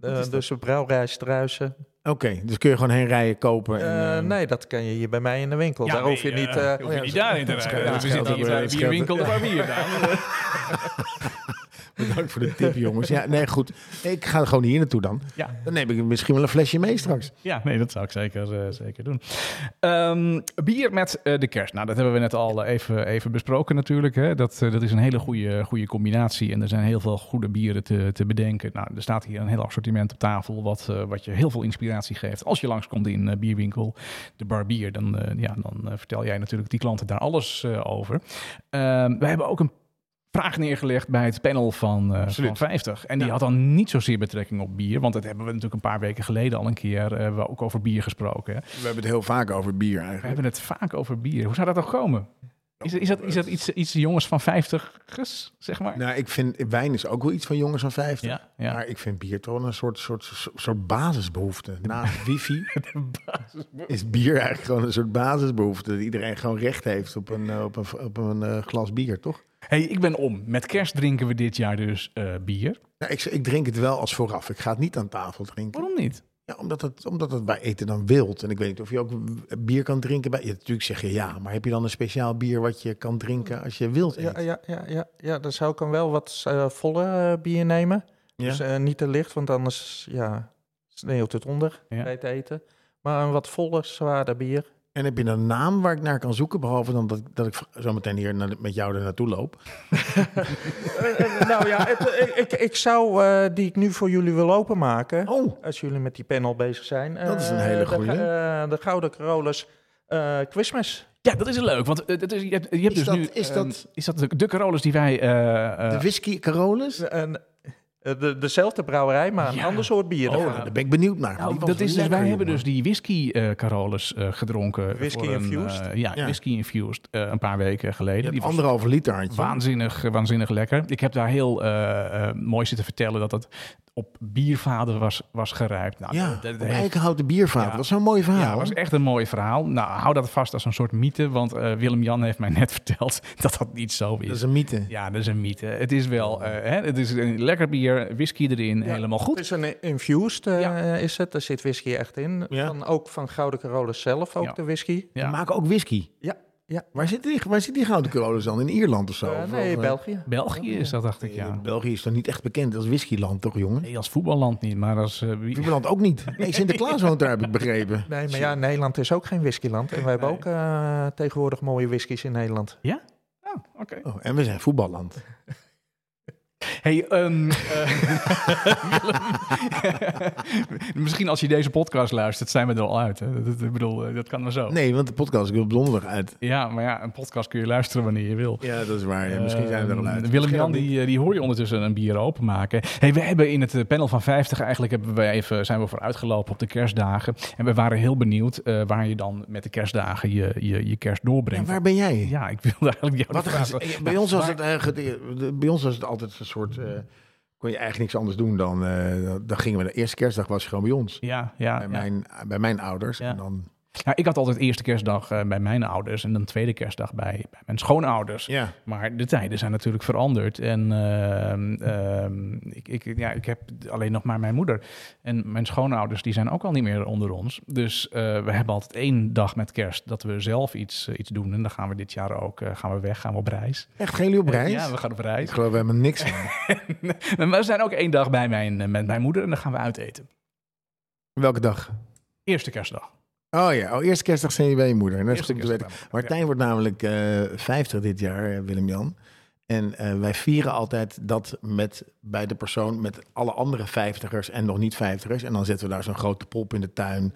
C: eh, dus een brouwerij Struisen.
A: Oké, dus kun je gewoon heen rijden, kopen. En,
C: Eh,
A: eh,
C: nee, dat kan je hier bij mij in de winkel. Daar hoef je
B: nee,
C: niet.
B: eh,
C: eh,
B: hoef je
A: Oh ja,
B: niet
A: dat-
B: daarin te
A: dat
B: rijden.
A: scheelt-
B: we
A: dat
B: zitten
A: scheelt
B: hier bij
A: ook
B: een
A: weer.
B: winkel waar bier dan.
A: Bedankt voor de tip, jongens. Ja, nee, goed. Ik ga gewoon hier naartoe dan.
B: Ja.
A: Dan neem ik misschien wel een flesje mee straks.
B: Ja, nee, dat zou ik zeker, eh, zeker doen. Ehm, bier met eh, de kerst. Nou, dat hebben we net al eh, even, even besproken natuurlijk. Hè. Dat, eh, dat is een hele goede, goede combinatie. En er zijn heel veel goede bieren te, te bedenken. Nou, er staat hier een heel assortiment op tafel... Wat, eh, wat je heel veel inspiratie geeft. Als je langskomt in eh, bierwinkel, de barbier... dan, eh, ja, dan eh, vertel jij natuurlijk die klanten daar alles eh, over. Ehm we hebben ook een vraag neergelegd bij het panel van, eh, van 50. En die had dan niet zozeer betrekking op bier. Want dat hebben we natuurlijk een paar weken geleden al een keer... eh, hebben we ook over bier gesproken. hè.
A: We hebben het heel vaak over bier
B: We
A: eigenlijk.
B: hebben het vaak over bier. Hoe zou dat toch komen? Is, is dat, is dat iets, iets jongens van 50 zeg maar?
A: Nou, ik vind wijn is ook wel iets van jongens van 50.
B: Ja, ja.
A: Maar ik vind bier toch wel een soort, soort, soort, soort basisbehoefte. Naast wifi is bier eigenlijk gewoon een soort basisbehoefte. Dat iedereen gewoon recht heeft op een, eh, op een, op een eh, glas bier, toch?
B: Hey, ik ben om. Met kerst drinken we dit jaar dus eh, bier.
A: Nou, ik, ik drink het wel als vooraf. Ik ga het niet aan tafel drinken.
B: Waarom niet?
A: Ja, omdat, het, omdat het bij eten dan wild. En ik weet niet of je ook w- bier kan drinken. Bij, ja, natuurlijk zeg je ja, maar heb je dan een speciaal bier wat je kan drinken als je wild eet?
B: eh-
C: ja, ja, ja, ja, ja, dan zou ik dan wel wat eh, volle eh, bier nemen.
A: Ja?
C: Dus eh, niet te licht, want anders ja, sneeuwt het onder
B: Ja.
C: bij het eten. Maar een wat voller, zwaarder bier.
A: En heb je een naam waar ik naar kan zoeken? Behalve dan dat, dat ik v- zo meteen hier naar- met jou er naartoe loop.
C: Eh, eh, nou ja, het, eh, ik, ik, ik zou eh, die ik nu voor jullie wil openmaken.
A: Oh,
C: Als jullie met die panel bezig zijn.
A: Dat is een
C: eh,
A: hele
C: de
A: goeie.
C: ga- eh, de Gouden Carolus eh, Christmas.
B: Ja, dat is leuk. Want eh, dat is, je hebt, je hebt
A: Is
B: dus
A: dat-
B: nu...
A: is
B: ehm,
A: dat-
B: is dat de, de Carolus die wij... eh, eh,
A: de whisky Carolus?
C: En, eh, de, dezelfde brouwerij, maar een
B: Ja.
C: ander soort bier.
A: Oh, nou, daar ben ik benieuwd naar.
B: Nou,
A: Die was
B: dat is dus,
A: lekker,
B: wij hebben dus
A: jongen.
B: die whisky eh Carolus eh, gedronken.
C: Whisky
B: voor een,
C: infused?
B: eh, ja,
A: Ja.
B: whisky infused eh, een paar weken geleden.
A: Je hebt
B: Die was
A: anderhalve liter aan het
B: waanzinnig, eh, waanzinnig lekker. Ik heb daar heel eh, eh, mooi zitten vertellen dat het op biervader was, was gerijpt. Nou,
A: Ja, Oh, nou.
B: dat- dat
A: op
B: heeft-
A: eikenhouten biervaat.
B: Ja.
A: Dat is zo'n mooi verhaal.
B: ja, dat was echt een mooi verhaal. Nou, hou dat vast als een soort mythe, want eh, Willem-Jan heeft mij net verteld dat dat niet zo
A: Dat is
B: is.
A: een mythe.
B: Ja, dat is een mythe. Het is wel, eh, hè, het is een lekker bier, whisky erin, helemaal goed.
C: Het is een infused, eh,
B: Ja.
C: is het. Daar zit whisky echt in.
A: Ja.
C: Van, ook van Gouden Carolus zelf, ook
B: Ja.
C: de whisky.
A: We
B: Ja.
A: maken ook whisky.
C: Ja. Ja.
A: Waar zit die, waar zit die gouden kolen dan? In Ierland of zo?
C: Eh,
A: Of-
C: nee,
A: of-
C: België.
B: België is dat, dacht ik, ja.
A: Eh, België is toch niet echt bekend als whiskyland, toch jongen?
B: Nee, als voetballand niet, maar als... eh, wie-
A: Nederland ook niet. Nee, Sinterklaas woont daar, heb ik begrepen.
C: Nee, maar ja, Nederland is ook geen whiskyland. En wij hebben
B: Nee.
C: ook eh, tegenwoordig mooie whiskies in Nederland.
B: Ah, oké.
A: Oh, en we zijn voetballand.
B: Hey, ehm, eh, Willem. misschien als je deze podcast luistert, zijn we er al uit. Hè? Dat, ik bedoel, eh, dat kan maar zo.
A: Nee, want de podcast is op donderdag uit.
B: Ja, maar ja, een podcast kun je luisteren wanneer je wil.
A: Ja, dat is waar. ja. Misschien zijn we er al uit.
B: Ehm, Willem-Jan,
A: Misschien ook
B: die, eh, die hoor je ondertussen een bier openmaken. Hey, we hebben in het eh, panel van 50 eigenlijk hebben we even, zijn we vooruitgelopen op de kerstdagen. En we waren heel benieuwd eh, waar je dan met de kerstdagen je, je, je kerst
A: niet. Ja,
B: doorbrengt. Ja,
A: waar ben jij?
B: ik wilde eigenlijk jou
A: Wat
B: die
A: een
B: vraag-
A: gez- eh, bij, ons was het, eigenlijk- eh, de- bij ons was het altijd een soort... eh, kon je eigenlijk niks anders doen dan... eh, dan gingen we... De eerste kerstdag was gewoon bij ons.
B: Ja, ja,
A: bij,
B: ja.
A: mijn, eh, bij mijn ouders.
B: Ja.
A: En dan,
B: Nou, ik had altijd eerste kerstdag eh, bij mijn ouders en dan tweede kerstdag bij, bij mijn schoonouders.
A: ja.
B: Maar de tijden zijn natuurlijk veranderd. En ehm, ehm, ik, ik, ja, ik heb alleen nog maar mijn moeder. En mijn schoonouders die zijn ook al niet meer onder ons. Dus eh, we hebben altijd één dag met kerst dat we zelf iets, eh, iets doen. En dan gaan we dit jaar ook eh, gaan we weg, gaan we op reis.
A: Echt, geen jullie op reis?
B: Ja, we gaan op
A: Ik
B: reis.
A: geloof we hebben niks aan.
B: Maar we zijn ook één dag bij mijn, eh, met mijn moeder en dan gaan we uit eten.
A: Welke dag?
B: Eerste kerstdag.
A: Oh ja, oh, eerste kerstdag zijn je bij je moeder. Dat is
B: Eerste
A: goed om te weten.
B: kerstdag.
A: Martijn wordt namelijk eh 50 dit jaar, eh, Willem-Jan. En eh, wij vieren altijd dat met, bij de persoon met alle andere vijftigers en nog niet vijftigers. En dan zetten we daar zo'n grote pop in de tuin.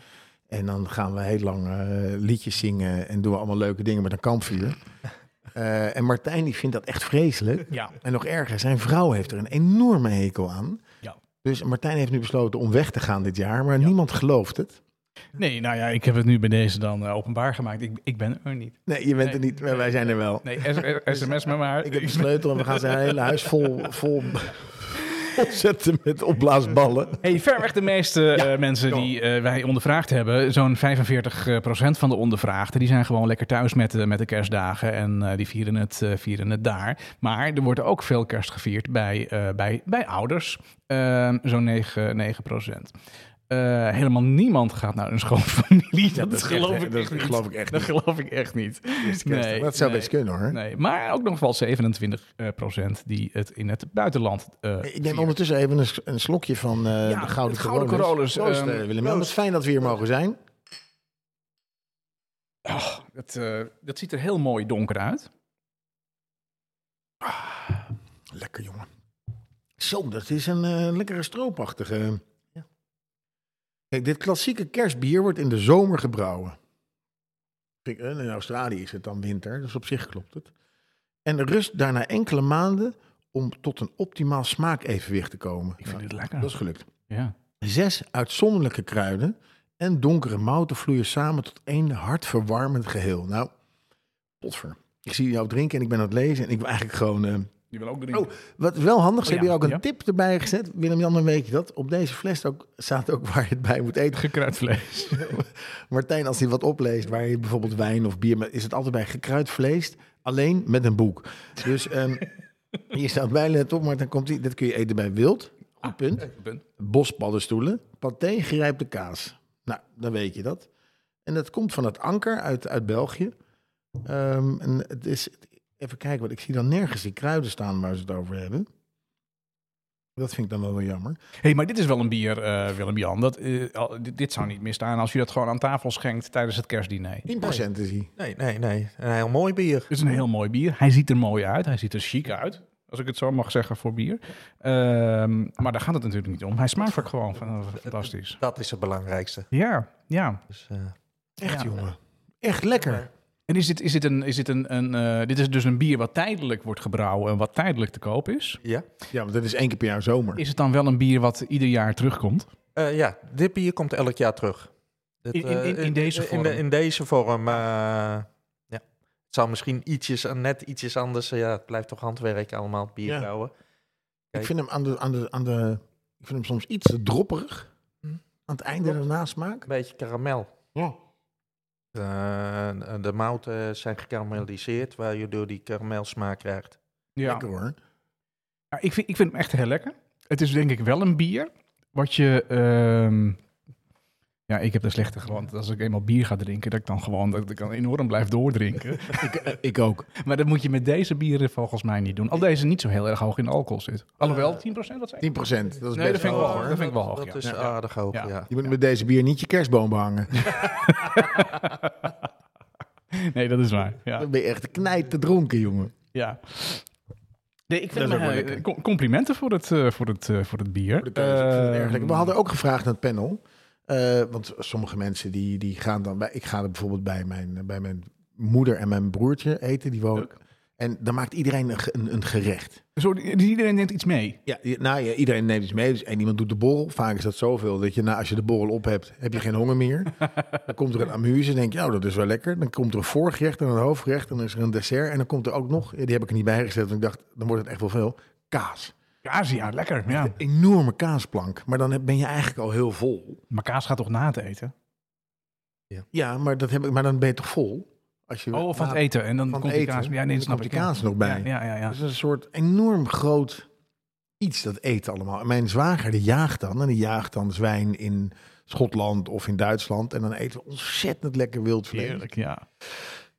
A: En dan gaan we heel lang eh, liedjes zingen en doen we allemaal leuke dingen met een kampvuur. Eh, en Martijn die vindt dat echt vreselijk.
B: Ja.
A: En nog erger, zijn vrouw heeft er een enorme hekel aan.
B: Ja.
A: Dus Martijn heeft nu besloten om weg te gaan dit jaar, maar niemand gelooft het.
B: Nee, nou ja, ik heb het nu bij deze dan eh, openbaar gemaakt. Ik, ik ben er niet.
A: Nee, je bent er
B: Nee.
A: niet, maar wij zijn er wel.
B: Nee, s- s- sms me maar.
A: Ik heb een sleutel en we gaan zijn hele huis vol, vol opzetten met opblaasballen.
B: Hey, ver weg de meeste eh, mensen die eh, wij ondervraagd hebben, zo'n 45% van de ondervraagden, die zijn gewoon lekker thuis met, de- met de kerstdagen en eh, die vieren het, eh, vieren het daar. Maar er wordt ook veel kerst gevierd bij, eh, bij, bij ouders, Eh, zo'n 9, 9%. Eh, helemaal niemand gaat naar een schoonfamilie. Dat, geloof ik
A: dat
B: echt niet.
A: geloof ik echt
B: Dat geloof ik echt niet. Nee,
A: dat zou
B: nee.
A: best kunnen hoor.
B: Nee, maar ook nog wel 27 eh, procent die het in het buitenland. eh,
A: Ik neem
B: vieren.
A: ondertussen even een, s- een slokje van eh,
B: Ja,
A: de Gouden
B: het
A: Corollers.
B: Gouden Corollers,
A: Proost,
B: ehm,
A: eh, Willem. Het is fijn dat we hier mogen zijn.
B: Dat, eh, dat ziet er heel mooi donker uit.
A: Lekker jongen. Zo, dat is een eh, lekkere stroopachtige. Kijk, dit klassieke kerstbier wordt in de zomer gebrouwen. Kijk, en In Australië is het dan winter, dus op zich klopt het. En rust daarna enkele maanden om tot een optimaal smaakevenwicht te komen.
B: Ik vind
A: Nou,
B: het lekker.
A: Dat is gelukt.
B: Ja.
A: Zes uitzonderlijke kruiden en donkere mouten vloeien samen tot één hartverwarmend geheel. Nou, potver. Ik zie jou drinken en ik ben aan het lezen en ik wil eigenlijk gewoon... eh,
B: Je wil ook drinken.
A: Oh, wat wel handig is,
B: Oh,
A: heb je
B: ja,
A: ook een
B: ja.
A: tip erbij gezet. Willem-Jan, dan weet je dat. Op deze fles ook, staat ook waar je het bij moet eten.
B: Gekruid vlees.
A: Martijn, als hij wat opleest, waar je bijvoorbeeld wijn of bier... maar is het altijd bij gekruid vlees, alleen met een boek. Dus ehm hier staat bijna net op, maar dan komt hij... Dat kun je eten bij wild, goed punt. Bospaddenstoelen, paté, gerijpte kaas. Nou, dan weet je dat. En dat komt van het anker uit, uit België. Ehm, en het is, even kijken, want ik zie dan nergens die kruiden staan waar ze het over hebben. Dat vind ik dan wel weer jammer.
B: hey, maar dit is wel een bier, eh, Willem-Jan. Dat, eh, al- dit, dit zou niet misstaan als je dat gewoon aan tafel schenkt tijdens het kerstdiner.
A: 10% is hij.
C: Nee, nee, nee. Een heel mooi bier.
B: Het is een heel mooi bier. Hij ziet er mooi uit. Hij ziet er chic uit. Als ik het zo mag zeggen voor bier. Ehm, maar daar gaat het natuurlijk niet om. Hij smaakt ook gewoon van- fantastisch.
C: Dat is het belangrijkste.
B: Ja, ja.
C: Dus, eh,
A: Echt,
B: Ja.
A: jongen. Echt lekker.
B: En is dit, is dit, een, is dit, een, een, eh, dit is dus een bier wat tijdelijk wordt gebrouwen en wat tijdelijk te koop is.
C: ja.
A: Ja, want dat is één keer per jaar zomer.
B: Is het dan wel een bier wat ieder jaar terugkomt?
C: Eh, ja, dit bier komt elk jaar terug. Dit,
B: In- in- in-
C: eh,
B: in deze
C: In, de-
B: vorm.
C: in deze vorm, eh, ja. Het zou misschien ietsjes, net ietsjes anders. eh, Ja, het blijft toch handwerk allemaal, het bier
A: Ja.
C: brouwen.
A: Ik vind hem aan de, aan de, aan de... Ik vind hem soms iets te dropperig.
C: Hm.
A: Aan het einde de nasmaak.
C: Een beetje karamel.
A: Ja.
C: Eh, de mouten zijn gekarameliseerd, waar je door die karamelsmaak krijgt.
A: Lekker hoor.
B: Ja, ik, vind, ik vind hem echt heel lekker. Het is denk ik wel een bier wat je... ehm, Ja, ik heb de slechte gewoonte. dat Als ik eenmaal bier ga drinken, dat ik dan gewoon dat ik dan enorm blijf doordrinken.
A: Ik ook.
B: maar dat moet je met deze bieren volgens mij niet doen. Al deze niet zo heel erg hoog in alcohol zit. Alhoewel, 10% wat zei
A: 10 procent. Dat is
B: Nee,
A: best
B: dat vind ik
A: hoog,
B: wel hoor.
A: hoor.
B: Dat vind ik wel hoog,
C: Dat
B: ja.
C: is
B: Ja, ja.
C: aardig hoog,
B: Ja.
C: ja.
A: Je moet met deze bier niet je kerstboom behangen.
B: ik? Nee, dat is waar. Ja.
A: Dan ben je echt knijt te dronken, jongen.
B: ja. Nee, ik
A: Dat
B: vind
A: is ook wel
B: eh,
A: lekker.
B: com- complimenten voor het, eh, voor het, eh, voor het bier.
A: Voor de thuis- of voor
B: Eh,
A: de dergelijke. We hadden ook gevraagd aan het panel. eh, want sommige mensen die, die gaan dan... Bij, ik ga er bijvoorbeeld bij mijn, bij mijn moeder en mijn broertje eten. Die wonen. En dan maakt iedereen een, ge- een, een gerecht.
B: Zo, die- iedereen neemt iets mee.
A: Ja, je- nou ja, iedereen neemt iets mee. Dus en iemand doet de borrel. Vaak is dat zoveel dat je na, als je de borrel op hebt, heb je geen honger meer. Dan komt er een amuse en denk je, oh, dat is wel lekker. Dan komt er een voorgerecht en een hoofdgerecht en dan is er een dessert. En dan komt er ook nog, ja, die heb ik er niet bij gezet, want ik dacht, dan wordt het echt wel veel, kaas.
B: Ja, zie ja, lekker. Ja.
A: Enorme kaasplank. Maar dan heb- ben je eigenlijk al heel vol.
B: Maar kaas gaat toch na het eten?
A: Ja, maar, dat heb ik, maar dan ben je toch vol? Als je
B: Oh, van het
A: na-
B: eten. En dan
A: van
B: komt
A: het
B: die
A: eten.
B: kaas. Ja,
A: En
B: nee,
A: dan
B: dat snap
A: komt
B: ik.
A: die
B: ja.
A: kaas er nog bij.
B: Ja, ja, ja. ja.
A: Dat is een soort enorm groot iets, dat eten allemaal. En mijn zwager, die jaagt dan. En die jaagt dan zwijn in Schotland of in Duitsland. En dan eten we ontzettend lekker wild vlees.
B: Heerlijk, ja.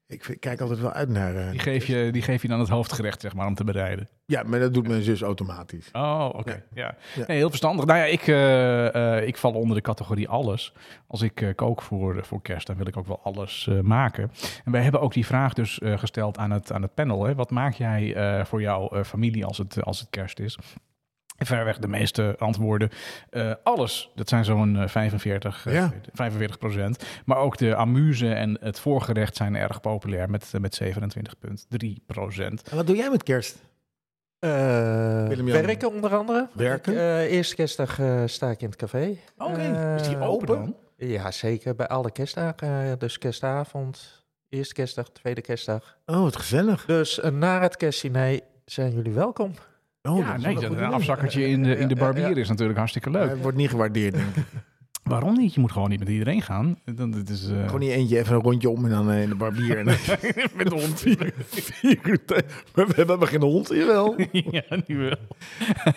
A: Ik vind- kijk altijd wel uit naar... eh,
B: Die geef, je, die geef je dan het hoofdgerecht, zeg maar, om te bereiden.
A: Ja, maar dat doet mijn zus automatisch.
B: Oh, oké. Ja.
A: Ja.
B: Nee, heel verstandig. Nou ja, ik, eh, eh, ik val onder de categorie alles. Als ik eh, kook voor, eh, voor kerst, dan wil ik ook wel alles eh, maken. En wij hebben ook die vraag dus eh, gesteld aan het, aan het panel. Hè. Wat maak jij eh, voor jouw eh, familie als het, als het kerst is? En Verreweg de meeste antwoorden. eh, alles, dat zijn zo'n eh, 45, eh,
A: Ja.
B: 45 procent. Maar ook de amuse en het voorgerecht zijn erg populair met, eh, met 27,3 procent.
A: En wat doe jij met kerst?
C: Eh,
A: Willem-Jan.
C: werken onder andere.
A: Werken?
C: Eh, eerste kerstdag eh, sta ik in het café. Eh,
B: is die open? dan?
C: Ja, zeker. Bij alle kerstdagen. eh, Dus kerstavond, eerste kerstdag, tweede kerstdag.
B: eh,
A: Oh, wat gezellig.
C: Dus eh, na het kerstdiner zijn jullie welkom.
A: Oh,
B: ja,
A: dat is
B: nee,
A: wel
B: dat-
A: een
B: een
A: goede
B: afzakkertje in de, in de
C: Ja, ja, ja.
B: barbier is natuurlijk hartstikke
A: idee.
B: leuk.
A: Hij wordt niet gewaardeerd, denk ik.
B: Waarom niet? Je moet gewoon niet met iedereen gaan. Dan, dit is, eh,
A: Gewoon niet eentje even een rondje om en dan eh, in de barbier. En dan
B: met de hond.
A: vier uur tijd. Maar we hebben geen hond, jawel.
B: ja, nu wel.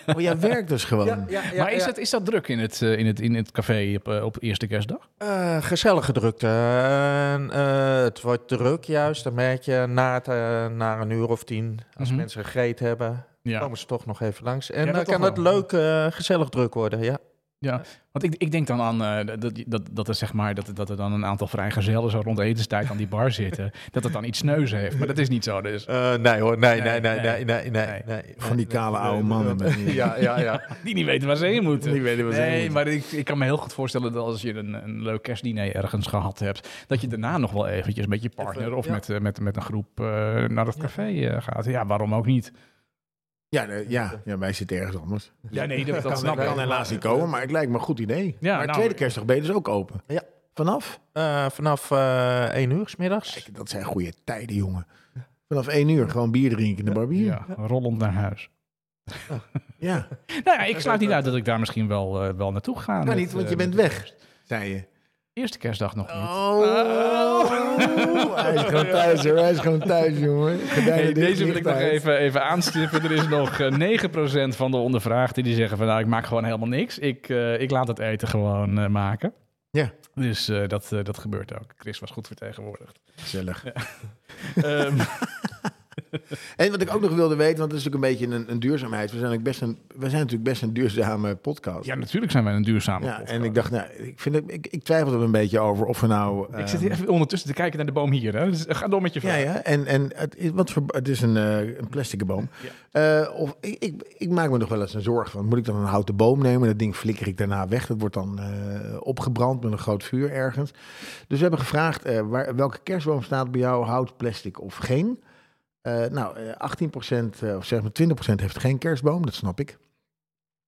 A: Oh, jij werkt dus gewoon.
B: maar is, dat, is dat druk in het, eh, in het, in het café op, eh, op eerste kerstdag?
C: Eh, gezellig gedrukt. eh, en, eh, het wordt druk juist. Dan merk je na, het, eh, na een uur of tien, als
B: Mhm.
C: mensen gegeten hebben,
B: Ja.
C: komen ze toch nog even langs. En
B: Ja, dat
C: dan
B: toch
C: kan het
B: wel.
C: leuk, eh, gezellig druk worden. Ja.
B: Want ik, ik denk dan aan eh, dat, dat, dat, er, zeg maar, dat, dat er dan een aantal vrijgezellen zo rond etenstijd aan die bar zitten. Dat het dan iets neus heeft. Maar dat is niet zo. Dus.
C: Eh, nee hoor, nee,
B: Nee,
C: nee, nee, nee,
B: nee,
C: nee,
B: nee.
C: nee. nee.
A: Van die kale oude mannen. met die-
C: Ja, ja, ja.
B: Die niet weten waar ze heen moeten.
A: Die weten waar ze heen
B: nee,
A: moeten.
B: maar ik, ik kan me heel goed voorstellen dat als je een, een leuk kerstdiner ergens gehad hebt, dat je daarna nog wel eventjes met je partner
C: Even,
B: of
C: ja.
B: met, eh, met, met een groep eh, naar dat café eh, gaat. Ja, waarom ook niet?
A: Ja, nee, ja, ja, wij zitten ergens anders.
B: Ja, nee, dat, dat
A: Dat
B: snap
A: kan,
B: ik.
A: kan helaas niet komen, maar eh, het lijkt me een goed idee.
B: Ja,
A: maar
B: nou,
A: tweede kerstdag ben je dus ook open.
C: Ja.
A: Vanaf?
C: Eh, vanaf eh 1 uur s middags.
A: Kijk, dat zijn goede tijden, jongen. Vanaf één uur gewoon bier drinken in de barbier. Ja.
B: Ja, rollend naar huis. Nou ja, ik sluit niet uit dat ik daar misschien wel, eh, wel naartoe ga.
A: Kan
B: met,
A: niet, want
B: eh,
A: je
B: met
A: bent weg, zei je.
B: de Eerste kerstdag nog niet.
A: Oh. Hij is gewoon thuis, hoor. Hij is gewoon thuis, jongen. Gordijnen
B: Hey,
A: dicht,
B: deze wil
A: licht
B: ik nog
A: uit.
B: even, even aanstippen. Er is nog eh, 9% van de ondervraagden die zeggen van... nou, ik maak gewoon helemaal niks. Ik, eh, ik laat het eten gewoon eh, maken.
A: Ja.
B: Dus eh, dat, eh, dat gebeurt ook. Chris was goed vertegenwoordigd.
A: Gezellig.
B: Ehm,
A: En wat ik ook nog wilde weten, want het is natuurlijk een beetje een, een duurzaamheid. We zijn, natuurlijk best een, we zijn natuurlijk best een duurzame podcast.
B: ja, natuurlijk zijn wij een duurzame
A: Ja,
B: podcast.
A: en ik dacht, nou, ik, vind, het- ik, ik twijfel er een beetje over of we nou...
B: Ik
A: eh,
B: zit hier even ondertussen te kijken naar de boom hier. Hè. Dus ga door met je
A: Ja,
B: vraag.
A: ja. En, en het, is, wat voor, het is een, eh een plastic boom. Eh, of, ik, ik, ik maak me nog wel eens een zorg van. Moet ik dan een houten boom nemen? Dat ding flikker ik daarna weg. Dat wordt dan eh, opgebrand met een groot vuur ergens. Dus we hebben gevraagd eh, waar, welke kerstboom staat bij jou? Hout, plastic of geen? Eh, nou, eh, 18% eh, of zeg maar 20% heeft geen kerstboom. Dat snap ik.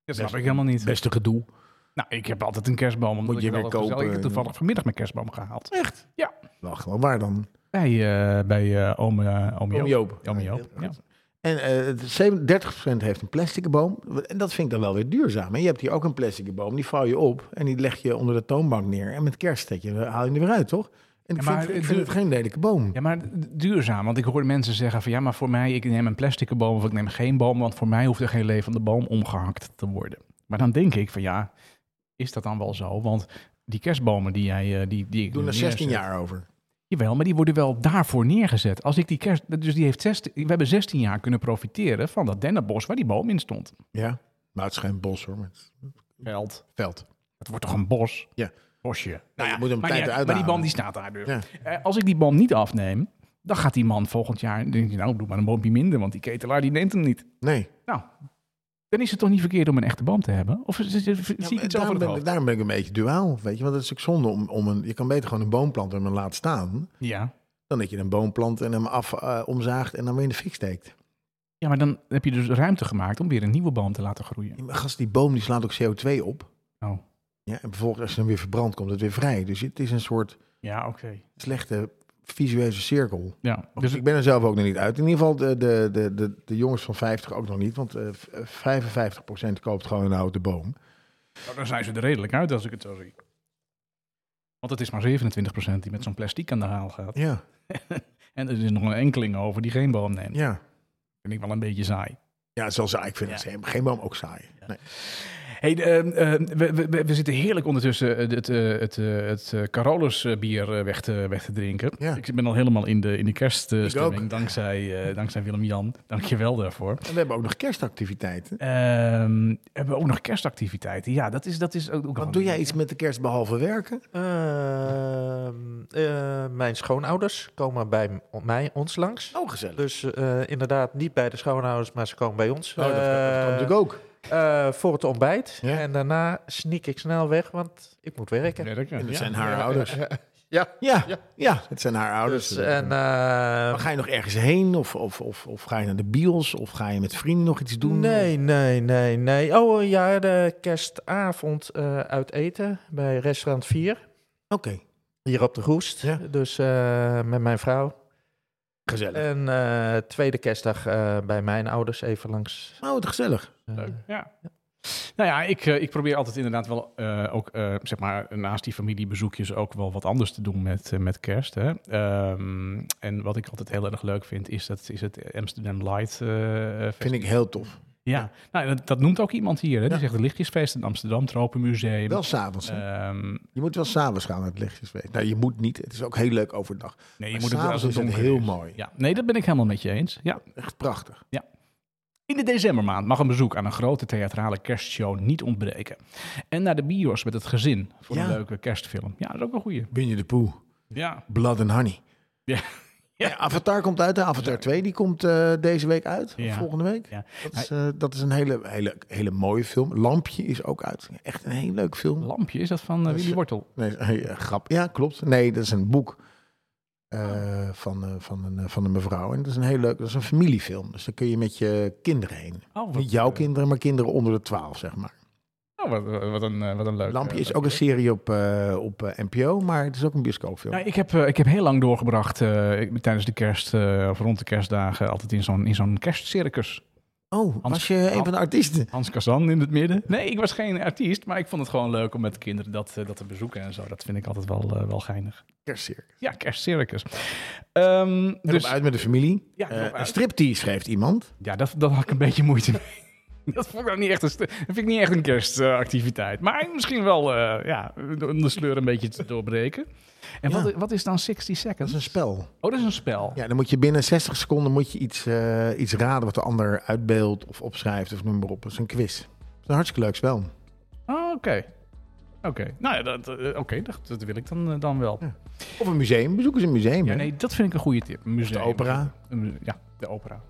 B: Dat snap ik helemaal niet.
A: Beste gedoe.
B: Nou, ik heb altijd een kerstboom. Omdat
A: Moet je
B: ik wel
A: weer
B: dat gezellig-
A: kopen
B: Ik heb
A: en-
B: toevallig vanmiddag mijn kerstboom gehaald. Echt? Ja.
A: Nou, gewoon waar dan?
B: Bij, eh bij eh, oom, eh, oom Joop.
A: Oom Joop.
B: Oom Joop, ja.
A: En eh, het 37% heeft een plastic boom. En dat vind ik dan wel weer duurzaam. En je hebt hier ook een plastic boom. Die vouw je op en die leg je onder de toonbank neer. En met kerst zet je, haal je hem er weer uit, toch? En
B: Ja,
A: ik
B: maar
A: vind, ik
B: het
A: vind
B: duur-
A: het geen lelijke boom.
B: Ja, maar duurzaam. Want ik hoor mensen zeggen van ja, maar voor mij, ik neem een plastic boom of ik neem geen boom, want voor mij hoeft er geen levende boom omgehakt te worden. Maar dan denk ik van ja, is dat dan wel zo? Want die kerstbomen die jij... eh, die, die ik
A: Doen
B: nu
A: er 16
B: neerzet.
A: jaar over.
B: Jawel, maar die worden wel daarvoor neergezet. Als ik die kerst, dus die heeft 16, we hebben 16 jaar kunnen profiteren van dat dennenbos waar die boom in stond.
A: Ja. Maar het is geen bos hoor. maar het is
B: Veld.
A: veld.
B: Het wordt toch een bos?
A: Ja.
B: Bosje.
A: Nou ja, je moet hem
B: Maar,
A: tijd
B: niet uit,
A: eruit
B: maar die boom
A: halen.
B: die staat daar dus.
A: Ja.
B: Eh, als ik die boom niet afneem, dan gaat die man volgend jaar... denk je, nou, doe maar een boompje minder, want die ketelaar die neemt hem niet.
A: Nee.
B: Nou, dan is het toch niet verkeerd om een echte boom te hebben? Of is- is- is- zie ik het zo van
A: daarom,
B: het
A: ben,
B: hoofd?
A: ik- daarom ben ik een beetje duaal. Weet je, want het is ook zonde om, om een. Je kan beter gewoon een boom planten en hem laat staan.
B: Ja.
A: Dan dat je een boom plant en hem af eh, omzaagt en dan weer in de fik steekt.
B: ja, maar dan heb je dus ruimte gemaakt om weer een nieuwe boom te laten groeien.
A: Ja, maar Gast, die boom die slaat ook CO2 op.
B: Oh.
A: Ja, en vervolgens als je hem weer verbrandt, komt het weer vrij. Dus het is een soort
B: Ja, oké.
A: slechte visuele cirkel.
B: Ja,
A: Dus
B: dus
A: ik ben er zelf ook nog niet uit. In ieder geval de, de, de, de, de jongens van 50 ook nog niet. Want eh, v- eh, 55% koopt gewoon een houten boom.
B: Nou, dan zijn ze er redelijk uit als ik het zo zie. Want het is maar 27% die met zo'n plastic aan de haal gaat.
A: Ja,
B: En er is nog een enkeling over die geen boom neemt.
A: ja.
B: Vind ik wel een beetje saai.
A: Ja, zoals ik vind
B: Ja.
A: het geen- geen boom ook saai. Nee.
B: Hey, de, ehm, ehm, we, we- we, we zitten heerlijk ondertussen eh, het, eh, het, eh, het, eh, Carolus eh, bier eh, weg te, weg te drinken.
A: Ja.
B: Ik ben al helemaal in de, in de kerststemming
A: ook.
B: dankzij, eh, dankzij Willem-Jan. Dank je wel daarvoor.
A: En we hebben ook nog kerstactiviteiten.
B: Ehm, hebben we ook nog kerstactiviteiten? Ja, dat is, dat is ook... ook wel
A: Want doe
B: een-
A: jij iets met de kerst behalve werken?
C: Ehm, eh, mijn schoonouders komen bij m- mij, ons langs.
A: Oh, gezellig.
C: Dus eh, inderdaad, niet bij de schoonouders, maar ze komen bij ons.
A: Oh, dat, dat kan
C: Eh,
A: natuurlijk ook.
C: eh, voor het ontbijt.
A: Ja.
C: En daarna sneak ik snel weg, want ik moet werken.
B: Werken,
A: En het
B: ja.
A: zijn haar ouders.
C: Ja.
A: Ja, ja.
C: Ja.
A: het zijn haar ouders.
C: Dus, en,
B: Ehm,
C: eh,
A: Maar ga je nog ergens heen? Of, of, of, of ga je naar de bios? Of ga je met vrienden nog iets doen?
C: Nee, nee, nee, nee. Oh eh, ja, de kerstavond eh, uit eten bij restaurant 4.
A: Oké,
C: Hier op de Groest.
A: Ja.
C: Dus eh, met mijn vrouw.
A: gezellig.
C: En eh, tweede kerstdag eh, bij mijn ouders even langs.
A: oh, wat gezellig.
C: Eh,
B: Leuk, ja. Nou ja, ik, eh, ik probeer altijd inderdaad wel eh, ook, eh, zeg maar, naast die familiebezoekjes ook wel wat anders te doen met, eh, met kerst. Hè? Ehm, en wat ik altijd heel erg leuk vind, is, dat, is het Amsterdam Light eh, Festival.
A: Vind ik heel tof.
B: Ja, nou, dat, dat noemt ook iemand hier. Hè?
A: Ja.
B: Die zegt het Lichtjesfeest in Amsterdam, Tropenmuseum.
A: Wel s'avonds. hè?
B: Ehm,
A: je moet wel s'avonds gaan naar het lichtjesfeest. Nou, je moet niet. Het is ook heel leuk overdag.
B: nee, je
A: Maar
B: moet het wel als
A: s'avonds is het
B: donker
A: heel
B: is.
A: mooi.
B: Ja, nee, dat ben ik helemaal met je eens. Ja,
A: Echt prachtig.
B: In de decembermaand mag een bezoek aan een grote theatrale kerstshow niet ontbreken. En naar de bios met het gezin voor
A: Ja.
B: een leuke kerstfilm. Ja, dat is ook een goeie.
A: Winnie de Pooh,
B: Ja.
A: Blood and Honey.
B: Ja.
A: Ja, Avatar komt uit, hè? Avatar 2 die komt eh, deze week uit, of
B: Ja.
A: volgende week.
B: ja.
A: Dat is, eh, dat is een hele, hele, hele mooie film. Lampje is ook uit. Echt een heel leuk film.
B: Lampje, is dat van eh,
A: Dat is-
B: Willy Wortel?
A: Nee, eh, grap. Ja, klopt. Nee, dat is een boek eh, van, eh, van, een, eh, van een mevrouw. En dat is een heel leuk, dat is een familiefilm. Dus dan kun je met je kinderen heen.
B: Oh, wat,
A: Niet jouw
B: eh,
A: kinderen, maar kinderen onder de twaalf, zeg maar.
B: oh, wat, wat- wat een, eh, wat een leuk...
A: Lampje
B: eh,
A: is
B: leuk
A: ook een
B: idee.
A: serie op, eh, op eh, NPO, maar het is ook een bioscoopfilm.
B: Nou, ik, heb, eh, ik heb heel lang doorgebracht eh, ik ben tijdens de kerst, eh, of rond de kerstdagen, altijd in zo'n, in zo'n kerstcircus.
A: Oh,
B: Hans-
A: was je een van de artiesten?
B: Hans Kazan in het midden. Nee, ik was geen artiest, maar ik vond het gewoon leuk om met de kinderen dat, eh, dat te bezoeken en zo. Dat vind ik altijd wel, eh, wel geinig.
A: Kerstcircus.
B: Ja, kerstcircus. Ehm,
A: Dus
B: dus,
A: uit met de familie.
B: Ja,
A: Eh,
B: erop
A: een
B: uit.
A: striptease schrijft iemand.
B: ja dat, dat had ik een beetje moeite mee. Dat vond ik nou niet echt een, st- dat vind ik niet echt een kerstactiviteit. maar misschien wel eh, ja, om de sleur een beetje te doorbreken. En
A: Ja.
B: wat, wat is dan 60
A: Dat
B: seconds?
A: is een spel.
B: Oh, dat is een spel.
A: Ja, dan moet je binnen 60 seconden moet je iets, eh, iets raden wat de ander uitbeeldt of opschrijft of noem maar op. Dat is een quiz. Dat is een hartstikke leuk spel.
B: Oh, oké. Oké, nou ja, dat, eh, oké, dat, dat wil ik dan, eh, dan wel.
A: Ja. Of een museum. Bezoek eens een museum.
B: Ja,
A: hè?
B: nee, dat vind ik een goede tip. Een museum.
A: De opera.
B: Een mu- Ja, de opera.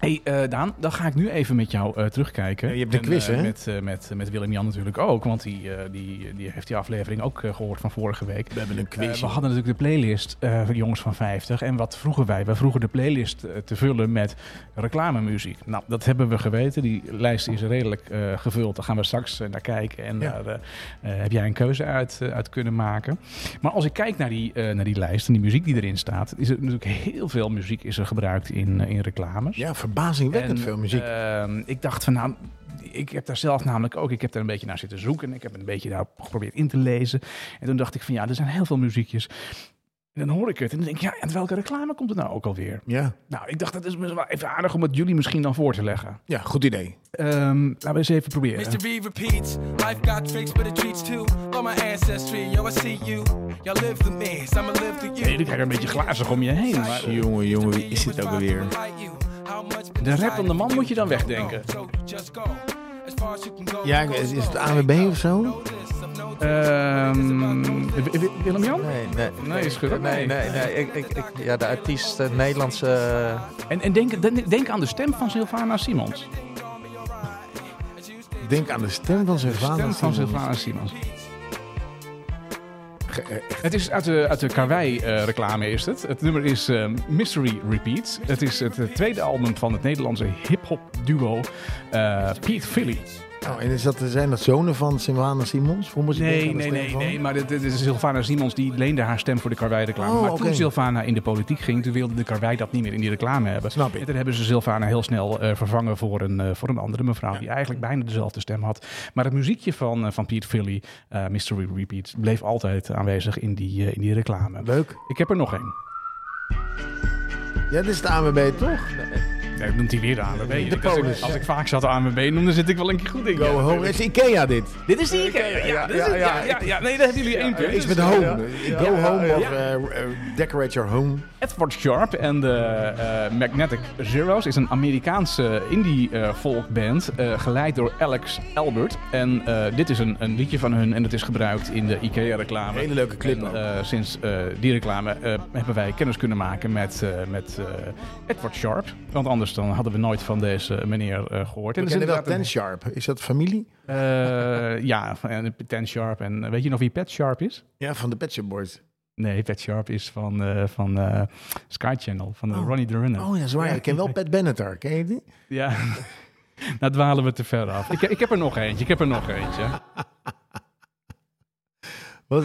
B: hey, eh, Daan, dan ga ik nu even met jou eh, terugkijken.
A: Ja, je hebt een
B: En,
A: quiz,
B: eh,
A: hè?
B: Met, eh, met, met Willem-Jan natuurlijk ook, want die, eh, die, die heeft die aflevering ook eh, gehoord van vorige week.
A: We hebben een
B: Eh,
A: quiz.
B: we hadden natuurlijk de playlist eh, van Jongens van 50. En wat vroegen wij? We vroegen de playlist eh, te vullen met reclamemuziek. Nou, dat hebben we geweten. Die lijst is redelijk eh, gevuld. Daar gaan we straks eh, naar kijken. En
A: Ja.
B: daar eh, eh, heb jij een keuze uit, eh, uit kunnen maken. Maar als ik kijk naar die, eh, naar die lijst en die muziek die erin staat... is er natuurlijk heel veel muziek is er gebruikt in, eh, in reclames.
A: ja, verbazingwekkend
B: En,
A: veel muziek.
B: ehm, ik dacht van nou, ik heb daar zelf namelijk ook, ik heb daar een beetje naar zitten zoeken. Ik heb een beetje daar geprobeerd in te lezen. En toen dacht ik van ja, er zijn heel veel muziekjes En dan hoor ik het en dan denk ik, ja, en welke reclame komt het nou ook alweer?
A: Ja.
B: Nou, ik dacht, dat is wel even aardig om het jullie misschien dan voor te leggen.
A: ja, goed idee.
B: Ehm, laten we eens even proberen.
D: Mr. B repeats. Life got tricks, but it treats too. But my ancestry, yo, I see you. Y'all live through me, so I'ma live through you.
B: Nee, jullie kijken een beetje glazig om je heen. Maar
A: Jongen, jongen, wie is dit ook alweer?
B: de rappende man moet je dan wegdenken.
A: Ja, is, is het AWB of zo?
B: Eh, Ehm, Wi- Wi- Willem-Jan?
C: Nee, nee.
B: Nee, is goed.
C: Nee, nee, nee. Ik, ik, ik- ja, de artiest, eh, Nederlandse... eh,
B: En, en denk, denk, denk aan de stem van Sylvana Simons.
A: Denk aan de stem van zijn vader.
B: Stem van Sylvana Simons. Het is uit de, uit de Karwei-reclame is het. Het nummer is ehm, Mystery Repeat. Het is het eh, tweede album van het Nederlandse hip-hop duo eh Pete Philly.
A: Oh, en is dat, zijn dat zonen van Sylvana Simons? Hoe moet je denken
B: Nee,
A: aan de
B: nee,
A: stem
B: nee,
A: van?
B: nee. Maar dit, dit is Sylvana Simons die leende haar stem voor de Karwei-reclame.
A: Oh,
B: maar
A: oké.
B: toen Sylvana in de politiek ging, toen wilde de Karwei dat niet meer in die reclame hebben.
A: Snap ik.
B: En toen hebben ze Sylvana heel snel eh, vervangen voor een, eh, voor een andere mevrouw die eigenlijk bijna dezelfde stem had. Maar het muziekje van, eh, van Piet Philly, eh, Mystery Repeat, bleef altijd aanwezig in die, eh, in die reclame.
A: Leuk.
B: Ik heb er nog één.
A: Ja, dit is het AWB toch?
B: Nee, noemt hij weer de ANWB. Ik- als ik-
A: polis.
B: Als, ik vaak zat de ANWB noem, dan zit ik wel een keer goed in.
A: Go
B: Ja.
A: home. Is IKEA dit?
B: Dit is die Ikea. Ja, dit is-
C: ja,
B: ja,
C: ja.
B: ja, ja. Nee, daar hebben jullie één punt.
A: Iets
B: Dus,
A: met
B: eh,
A: home.
C: ja.
A: Go
C: Ja,
A: home
C: ja,
A: of eh, eh, decorate your home.
B: Edward Sharp en de eh, Magnetic Zeros is een Amerikaanse indie eh, folkband eh, geleid door Alex Albert. En eh, dit is een, een liedje van hun en dat is gebruikt in de IKEA-reclame.
A: Hele leuke clip
B: En,
A: ook.
B: eh, sinds eh, die reclame eh, hebben wij kennis kunnen maken met, eh, met eh, Edward Sharp. Want anders dan hadden we nooit van deze meneer eh, gehoord.
A: We
B: En dat is
A: kennen wel
B: inderdaad
A: Ten
B: een-
A: Sharp. Is dat familie?
B: eh, ja, en Ten Sharp. En eh, weet je nog wie Pat Sharp is?
A: Ja, van de Pet Shop Boys.
B: Nee, Pat Sharp is van, eh, van eh, Sky Channel, van eh,
A: Oh.
B: Ronnie the Runner.
A: Oh ja, zwaar. Ik ken wel Pat Benatar. Ken je die?
B: Ja, nou dwalen we te ver af. Ik, ik heb er nog eentje, ik heb er nog eentje.
A: Wat?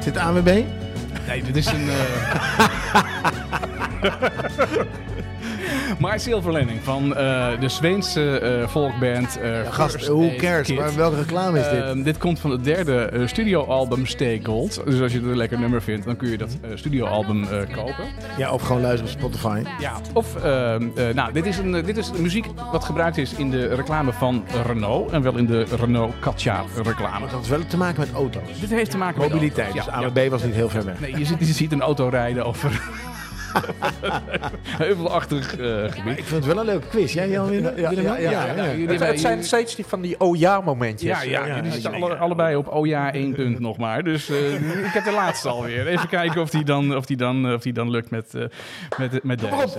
A: Zit AWB?
B: Nee, dit is een... eh, My Silver Lining van eh, de Zweense eh volkband eh
A: Gast,
B: First
A: who
B: Aid
A: cares?
B: Kit.
A: Maar welke reclame is dit?
B: Ehm, dit komt van het derde eh, studioalbum Stay Gold. Dus als je het een lekker nummer vindt, dan kun je dat eh, studioalbum eh, kopen.
A: Ja, of gewoon luisteren op Spotify.
B: Ja, of ehm, eh, nou, dit is, een, eh, dit is muziek wat gebruikt is in de reclame van Renault. En wel in de Renault Katja reclame.
A: Maar dat had wel te maken met auto's.
B: Dit heeft te maken met
A: Mobiliteit.
B: auto's.
A: Dus
B: Ja,
A: AWB was niet heel ver weg.
B: ja. Nee, je ziet, je ziet een auto rijden over heuvelachtig eh, gebied.
A: Ik vind het wel een leuke quiz. Jij, Jan? Willem?
C: ja,
A: Willem?
C: ja, ja, ja.
B: jullie
C: Het,
B: hebben-
C: het zijn steeds die van die oh ja momentjes.
B: Ja, ja, jullie
A: ja,
B: zitten
A: ja.
B: alle- allebei op oh ja, één punt nog maar. Dus eh, ik heb de laatste alweer. Even kijken of die dan, of die dan, of die dan lukt met, eh, met, met
A: maar op.
B: deze.